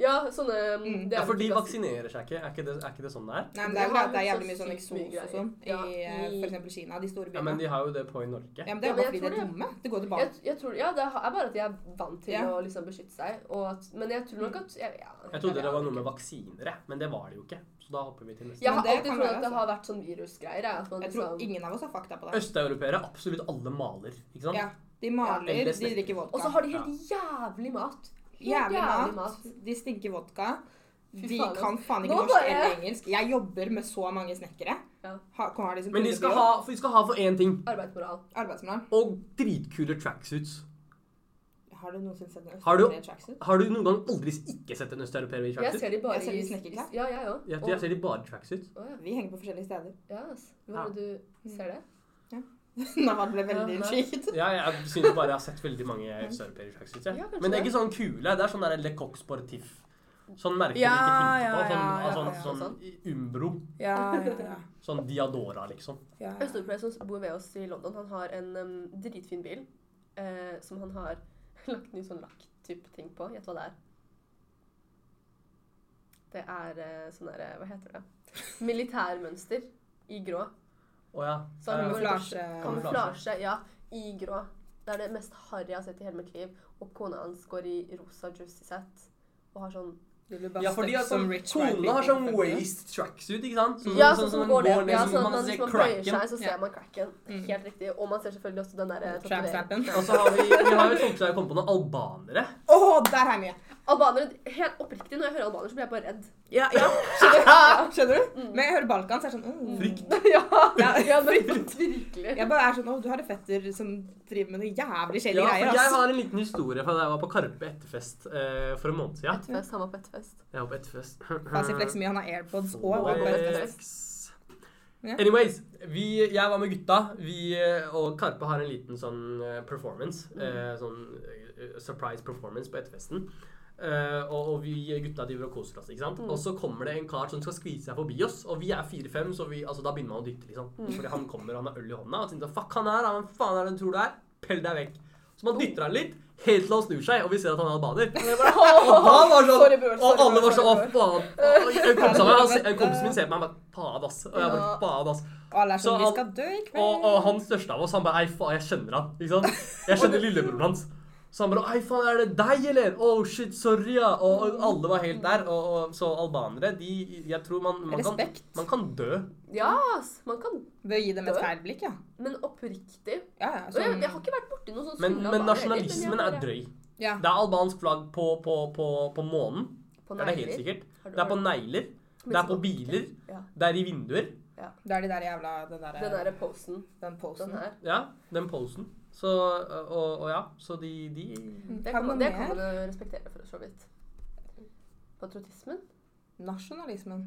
Speaker 2: Ja, sånne
Speaker 1: Mm.
Speaker 2: det er
Speaker 3: Ja, for
Speaker 2: vel
Speaker 3: de
Speaker 2: ikke gass-
Speaker 3: vaksinerer seg ikke. Er ikke det, er ikke det sånn det er?
Speaker 1: Nei, men det er jo det
Speaker 2: Det har
Speaker 1: at det er
Speaker 2: liksom
Speaker 1: jævlig mye sånn
Speaker 2: sykt mye
Speaker 1: eksos og sånn i
Speaker 2: greier. Ja,
Speaker 1: eh,
Speaker 2: i-
Speaker 1: for eksempel Kina, de store
Speaker 3: Ja, Men
Speaker 1: byene.
Speaker 3: de har jo det på i Norge.
Speaker 1: Ja, men det er jo
Speaker 2: Ja, men
Speaker 1: bare
Speaker 2: jeg
Speaker 1: fordi de
Speaker 2: tror
Speaker 1: er
Speaker 2: det-
Speaker 1: dumme. Det går
Speaker 2: jeg,
Speaker 1: tilbake.
Speaker 2: jeg tror, Ja, det er bare at jeg er vant til
Speaker 1: Ja.
Speaker 2: å liksom beskytte seg. Og at, men jeg tror nok at jeg, ja,
Speaker 3: Jeg trodde det var noe med
Speaker 2: vaksiner.
Speaker 3: vaksiner, jeg, men det var det jo ikke. Så da hopper vi til neste.
Speaker 2: Jeg
Speaker 1: Men
Speaker 2: har
Speaker 1: det
Speaker 2: alltid
Speaker 1: kan
Speaker 2: trodd
Speaker 1: være,
Speaker 2: at det
Speaker 1: altså.
Speaker 2: har vært sånn virusgreier. ja, At man
Speaker 1: Jeg tror
Speaker 2: liksom
Speaker 1: ingen av oss har fakta på det.
Speaker 3: Østeuropeere, absolutt alle maler, ikke sant?
Speaker 1: Ja, De maler,
Speaker 3: eller
Speaker 1: de
Speaker 3: snekker.
Speaker 1: drikker
Speaker 2: Og så
Speaker 1: vodka.
Speaker 2: har de helt jævlig mat. Helt
Speaker 1: Jævlig mat. De stinker vodka.
Speaker 2: Fy
Speaker 1: De
Speaker 2: faen, ass.
Speaker 1: kan faen ikke
Speaker 2: Nå
Speaker 1: norsk
Speaker 2: bare-
Speaker 1: eller engelsk. Jeg jobber med så mange snekkere.
Speaker 2: Ja.
Speaker 1: Har, har de som
Speaker 3: Men de skal,
Speaker 1: kundebil.
Speaker 3: ha, for de skal ha for én ting.
Speaker 2: Arbeidsmoral.
Speaker 1: Arbeidsmoral.
Speaker 3: Og dritkule tracksuits.
Speaker 1: Har du noensinne sett en
Speaker 3: Har du-
Speaker 1: østeuropeer i tracksuit?
Speaker 3: Har du noen gang aldri ikke sett en østeuropeer i
Speaker 2: Jeg
Speaker 3: tracksuit?
Speaker 2: ser de bare
Speaker 1: Jeg ser de
Speaker 2: i-
Speaker 1: snekkerklær.
Speaker 2: Ja, jeg òg.
Speaker 3: Jeg, jeg ser de bare i tracksuit.
Speaker 1: Vi henger på forskjellige steder.
Speaker 2: Ja, ass. Hvor er det du ser det?
Speaker 1: Nav ble veldig
Speaker 2: Ja, nei.
Speaker 1: skyet.
Speaker 3: Ja, jeg synes bare jeg har sett veldig mange østeuropeere i tracksuit.
Speaker 2: Ja,
Speaker 3: jeg.
Speaker 2: kanskje
Speaker 3: Men det er
Speaker 2: det.
Speaker 3: ikke sånn kule. Det er sånn der Le Coq Sportif. Sånn merker
Speaker 1: Ja,
Speaker 3: vi ikke
Speaker 1: ja,
Speaker 3: tenker på. Sånn,
Speaker 1: ja,
Speaker 3: sånn,
Speaker 1: ja,
Speaker 2: ja.
Speaker 3: sånn, Umbro.
Speaker 1: Ja, ja,
Speaker 3: Sånn Diadora, liksom.
Speaker 1: ja.
Speaker 2: Østeuropeer som bor ved oss i London, han har en em, dritfin bil eh, som han har lagt ny sånn lakk-type ting på. Gjett hva det er. Det er eh, sånn derre Hva heter det? Militærmønster i grå.
Speaker 3: Å ja.
Speaker 2: Så han
Speaker 3: Eh,
Speaker 2: går-
Speaker 1: Kamuflasje.
Speaker 3: Kamuflasje.
Speaker 2: Kamuflasje. Ja, i grå. Det er det mest harry jeg har sett i hele mitt liv. Og kona hans går i rosa juicy set og har sånn
Speaker 1: Du blir bare
Speaker 3: Ja, for de har
Speaker 1: støpt som
Speaker 3: sånn
Speaker 1: rich white
Speaker 3: Kona har
Speaker 1: people,
Speaker 3: sånn
Speaker 1: føler jeg.
Speaker 3: waist tracksuit, ikke sant? Sånn-
Speaker 2: Ja,
Speaker 3: sånn-
Speaker 2: sånn
Speaker 3: sånn
Speaker 2: som
Speaker 3: den
Speaker 2: går ned.
Speaker 3: ned,
Speaker 2: Ja,
Speaker 3: sånn
Speaker 2: sånn at
Speaker 3: man
Speaker 2: man,
Speaker 3: ser
Speaker 2: hvis man bøyer
Speaker 3: cracken.
Speaker 2: seg, så
Speaker 1: Ja.
Speaker 2: ser man cracken. Helt riktig. Og man ser selvfølgelig også den der eh,
Speaker 1: Tramp
Speaker 2: tatoveringen.
Speaker 1: snappen.
Speaker 3: Og så har vi, vi har jo folk som har kommet på noen albanere.
Speaker 1: Å, der har jeg mye!
Speaker 2: Albanere, helt oppriktig, når jeg hører albaner, så blir jeg bare redd.
Speaker 1: Ja, ja. Skjønner du? Skjønner du? Men jeg hører Balkan, så er jeg sånn mm.
Speaker 3: Frykt.
Speaker 2: ja,
Speaker 1: Ja.
Speaker 2: ja, men virkelig.
Speaker 1: Jeg bare er sånn Å, du har en fetter som driver med noe jævlig shady
Speaker 3: Ja,
Speaker 1: greier,
Speaker 3: for jeg
Speaker 1: ass.
Speaker 3: har en liten historie fra da jeg var på Karpe etterfest eh, for en måned siden.
Speaker 2: Ettfest, han var på ettfest.
Speaker 3: Jeg var på etterfest.
Speaker 1: Fasiflex mye, han har airpods og
Speaker 3: Flex.
Speaker 1: Ja.
Speaker 3: Anyways, vi, jeg var med gutta, vi, eh, og Karpe har en liten sånn eh, performance.
Speaker 1: Mm.
Speaker 3: eh, Sånn eh, surprise performance på etterfesten. Eh, og, og vi gutta driver og koser oss. ikke sant?
Speaker 1: Mm.
Speaker 3: Og så kommer det en kar som skal skvise seg forbi oss. Og vi er fire-fem, så vi, altså, da begynner man å dytte. liksom.
Speaker 1: Mm.
Speaker 3: Fordi han kommer, og han har øl i hånda. Og tenker, fuck han her, han, hvem faen er det du tror det er? Pell deg vekk. Så
Speaker 1: Oh.
Speaker 3: man dytter han litt, helt til han snur seg, og vi ser at han er albaner. Og da var det sånn,
Speaker 2: Sorry, Bjørn, sorry,
Speaker 3: og alle
Speaker 2: Bjørn,
Speaker 3: var sånn, å
Speaker 2: sorry,
Speaker 3: faen. Og En kompis av meg, han se- en kompis min ser på meg og bare, faen ass. Og jeg bare,
Speaker 2: Ja.
Speaker 3: faen ass.
Speaker 1: Og alle er
Speaker 3: Så
Speaker 1: sånn Vi
Speaker 3: han-
Speaker 1: skal dø i
Speaker 3: Og, og
Speaker 1: kveld.
Speaker 3: han største av oss, han bare, ei faen, jeg kjenner han. Ikke sant? Jeg kjenner lillebroren hans. Så han bare Hei, faen, er det deg, eller? Oh shit, sorry, ja. Og, og alle var helt der. Og, og så albanere, de Jeg tror man, man kan
Speaker 1: Respekt.
Speaker 3: Man kan dø.
Speaker 2: Ja, ass, man kan
Speaker 1: Bør gi dem et
Speaker 2: Dør.
Speaker 1: feil blikk, ja.
Speaker 2: Men oppriktig
Speaker 1: Ja, ja,
Speaker 2: Og jeg,
Speaker 1: sånn,
Speaker 2: jeg har ikke vært borti noe sånn
Speaker 3: Men,
Speaker 2: skulle
Speaker 3: men
Speaker 2: albanere
Speaker 3: nasjonalismen
Speaker 2: heller,
Speaker 3: er
Speaker 2: men jeg
Speaker 3: drøy.
Speaker 1: ja.
Speaker 3: Det er albansk flagg på, på, på, på månen.
Speaker 2: har-
Speaker 3: Det er det helt
Speaker 2: negler.
Speaker 3: sikkert.
Speaker 2: Har du
Speaker 3: Det er på
Speaker 2: hørt?
Speaker 3: negler.
Speaker 2: Men
Speaker 3: Det er på
Speaker 2: så-
Speaker 3: biler.
Speaker 2: Ja.
Speaker 3: Det er i vinduer.
Speaker 1: Det er de der jævla Den der,
Speaker 2: Den derre posen.
Speaker 1: den posen.
Speaker 2: Den her.
Speaker 3: Ja, den posen. Så Og, og ja, så de, de
Speaker 1: Mm.
Speaker 2: Det
Speaker 1: Har
Speaker 2: kan,
Speaker 1: vi noe
Speaker 2: man, det kan
Speaker 1: mer?
Speaker 2: man jo respektere for så vidt. Patriotismen?
Speaker 1: Nasjonalismen.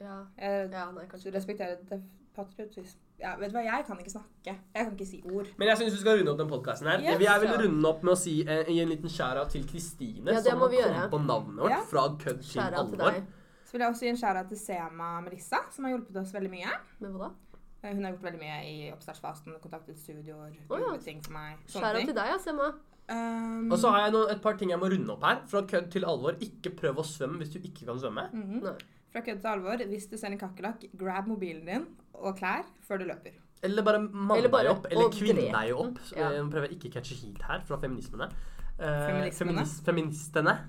Speaker 2: Ja.
Speaker 1: Jeg
Speaker 2: ja. Nei, kanskje.
Speaker 1: respekterer det patriotisme ja, Vet du hva, jeg kan ikke snakke. Jeg kan ikke si ord.
Speaker 3: Men jeg syns vi skal runde opp den podkasten her.
Speaker 1: Yes.
Speaker 3: Vi er vel
Speaker 2: Ja.
Speaker 3: runde opp med å si eh, gi en liten skjæra til Kristine,
Speaker 2: Ja, det
Speaker 3: som
Speaker 2: må
Speaker 3: har
Speaker 2: vi gjøre.
Speaker 3: kommet på navnet vårt
Speaker 1: Ja.
Speaker 3: fra kødd til
Speaker 2: Skjæra til
Speaker 3: alvor.
Speaker 2: deg.
Speaker 1: Så vil jeg også gi en skjæra til Sema Melissa, som har hjulpet oss veldig mye.
Speaker 2: Men hva da?
Speaker 1: Eh, Hun har gjort veldig mye i oppstartsfasen, kontaktet studioer,
Speaker 2: Å, ja.
Speaker 1: gjort ting for meg.
Speaker 2: Skjæra
Speaker 1: Sånne ting.
Speaker 2: til deg, ja, Semma.
Speaker 1: Um,
Speaker 3: Og så har jeg noen, et par ting jeg må runde opp her. Fra kødd til alvor. Ikke prøv å svømme hvis du ikke kan svømme.
Speaker 1: mhm.
Speaker 2: Nei.
Speaker 1: Fra kødd til alvor, hvis du ser en kakerlakk, grab mobilen din og klær før du løper.
Speaker 3: Eller bare mann
Speaker 2: Eller bare
Speaker 3: deg opp. Eller
Speaker 2: å
Speaker 3: kvinne
Speaker 2: drepe
Speaker 3: deg opp.
Speaker 2: den. Ja.
Speaker 3: Eh, Nå prøver jeg ikke å catche heat her fra feminismene. Eh,
Speaker 1: Feminismene.
Speaker 3: feminis- feministene.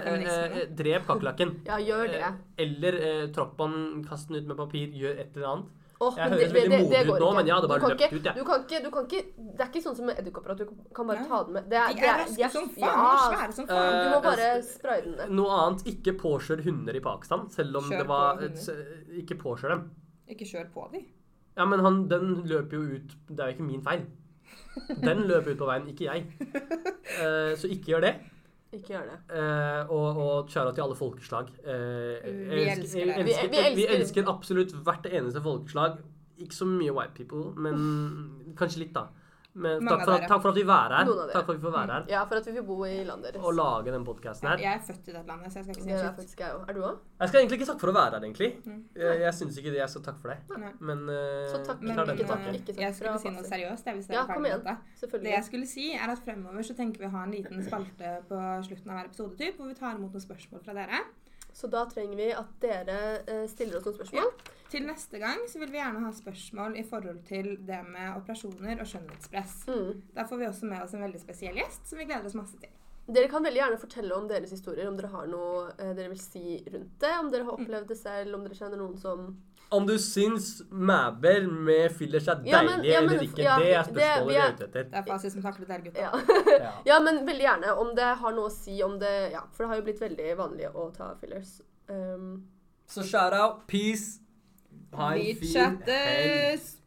Speaker 1: Fra feminismene.
Speaker 3: eh, eh, drep kakerlakken.
Speaker 2: Ja, gjør det.
Speaker 3: Eh, Eller eh, tropp den, kast den ut med papir, gjør et eller annet.
Speaker 2: Åh,
Speaker 3: jeg
Speaker 2: men
Speaker 3: høres veldig modig ut
Speaker 2: går
Speaker 3: nå, men jeg hadde
Speaker 2: Du
Speaker 3: bare
Speaker 2: kan
Speaker 3: løpt
Speaker 2: ikke-
Speaker 3: ut, jeg.
Speaker 2: Du kan ikke, du kan ikke, det er ikke sånn som med edderkopper at du kan bare
Speaker 1: Nei.
Speaker 2: ta den med. Det er,
Speaker 1: De
Speaker 2: det
Speaker 1: er raske som faen, og
Speaker 2: ja,
Speaker 1: svære som
Speaker 3: Eh,
Speaker 1: faen.
Speaker 2: Du må bare spraye den ned.
Speaker 3: Noe annet. Ikke påkjør hunder i Pakistan, selv om
Speaker 1: Kjør
Speaker 3: det var
Speaker 1: på hunder.
Speaker 3: s- Ikke påkjør dem.
Speaker 1: Ikke kjør på de.
Speaker 3: Ja, men han, den løper jo ut Det er jo ikke min feil. Den løper ut på veien, ikke jeg. Eh, så ikke gjør det.
Speaker 2: Ikke gjør det.
Speaker 3: Eh, og og kjære til alle folkeslag. Eh,
Speaker 1: Vi
Speaker 3: elsk-
Speaker 1: elsker dere.
Speaker 3: elsker-
Speaker 2: Vi- vi elsker-
Speaker 3: vi elsker absolutt hvert eneste folkeslag. Ikke så mye white people, men kanskje litt, da. Men
Speaker 1: Mange
Speaker 3: takk
Speaker 1: av
Speaker 3: for, at,
Speaker 1: dere. Mm.
Speaker 3: takk for at vi er her.
Speaker 2: Noen av dere.
Speaker 3: Takk for at vi får være her
Speaker 2: Ja, for at vi får bo i landet deres.
Speaker 3: og lage den podkasten her.
Speaker 1: Jeg er født i dette landet, så jeg skal ikke si
Speaker 2: Det er
Speaker 1: en skitt.
Speaker 2: faktisk jeg òg. Er du òg?
Speaker 3: Jeg skal egentlig ikke takke for å være her, egentlig.
Speaker 1: Mm.
Speaker 3: Jeg, jeg syns ikke det. Jeg skal takke for det.
Speaker 1: Nei.
Speaker 3: Men eh,
Speaker 2: Så takk,
Speaker 3: jeg
Speaker 1: Men
Speaker 3: tar den
Speaker 2: ikke
Speaker 3: til
Speaker 2: takk,
Speaker 3: takke.
Speaker 2: ikke takk
Speaker 1: jeg
Speaker 2: fra
Speaker 1: skulle si noe
Speaker 2: Fasit.
Speaker 1: seriøst. Jeg, hvis dere
Speaker 2: Ja,
Speaker 1: er ferdig
Speaker 2: kom
Speaker 1: med
Speaker 2: igjen.
Speaker 1: dette. Det
Speaker 2: Selvfølgelig.
Speaker 1: jeg skulle si, er at fremover så tenker vi å ha en liten spalte på slutten av hver episode, typ, hvor vi tar imot noen spørsmål fra dere.
Speaker 2: Så da trenger vi at dere eh, stiller oss noen spørsmål.
Speaker 1: Til neste gang så vil vi gjerne ha spørsmål i forhold til det med operasjoner og skjønnhetspress.
Speaker 2: Mm.
Speaker 1: Der får vi også med oss en veldig spesiell gjest som vi gleder oss masse til.
Speaker 2: Dere kan veldig gjerne fortelle om deres historier, om dere har noe eh, dere vil si rundt det. Om dere har opplevd det selv, om dere kjenner noen som
Speaker 3: Om du syns mæber med fillers er deilig
Speaker 2: Ja, men- ja, men-
Speaker 3: eller ikke,
Speaker 2: ja,
Speaker 3: det er
Speaker 2: det- vi
Speaker 3: spørsmålet vi
Speaker 2: er-
Speaker 3: er ute etter.
Speaker 1: Det er fasit som taklet dere, gutta.
Speaker 2: ja.
Speaker 3: Ja.
Speaker 2: ja, men veldig gjerne om det har noe å si om det Ja, for det har jo blitt veldig vanlig å ta fillers. Um,
Speaker 3: Så shout out, peace. Ha en
Speaker 1: Vi
Speaker 3: fin helg.
Speaker 1: chattes!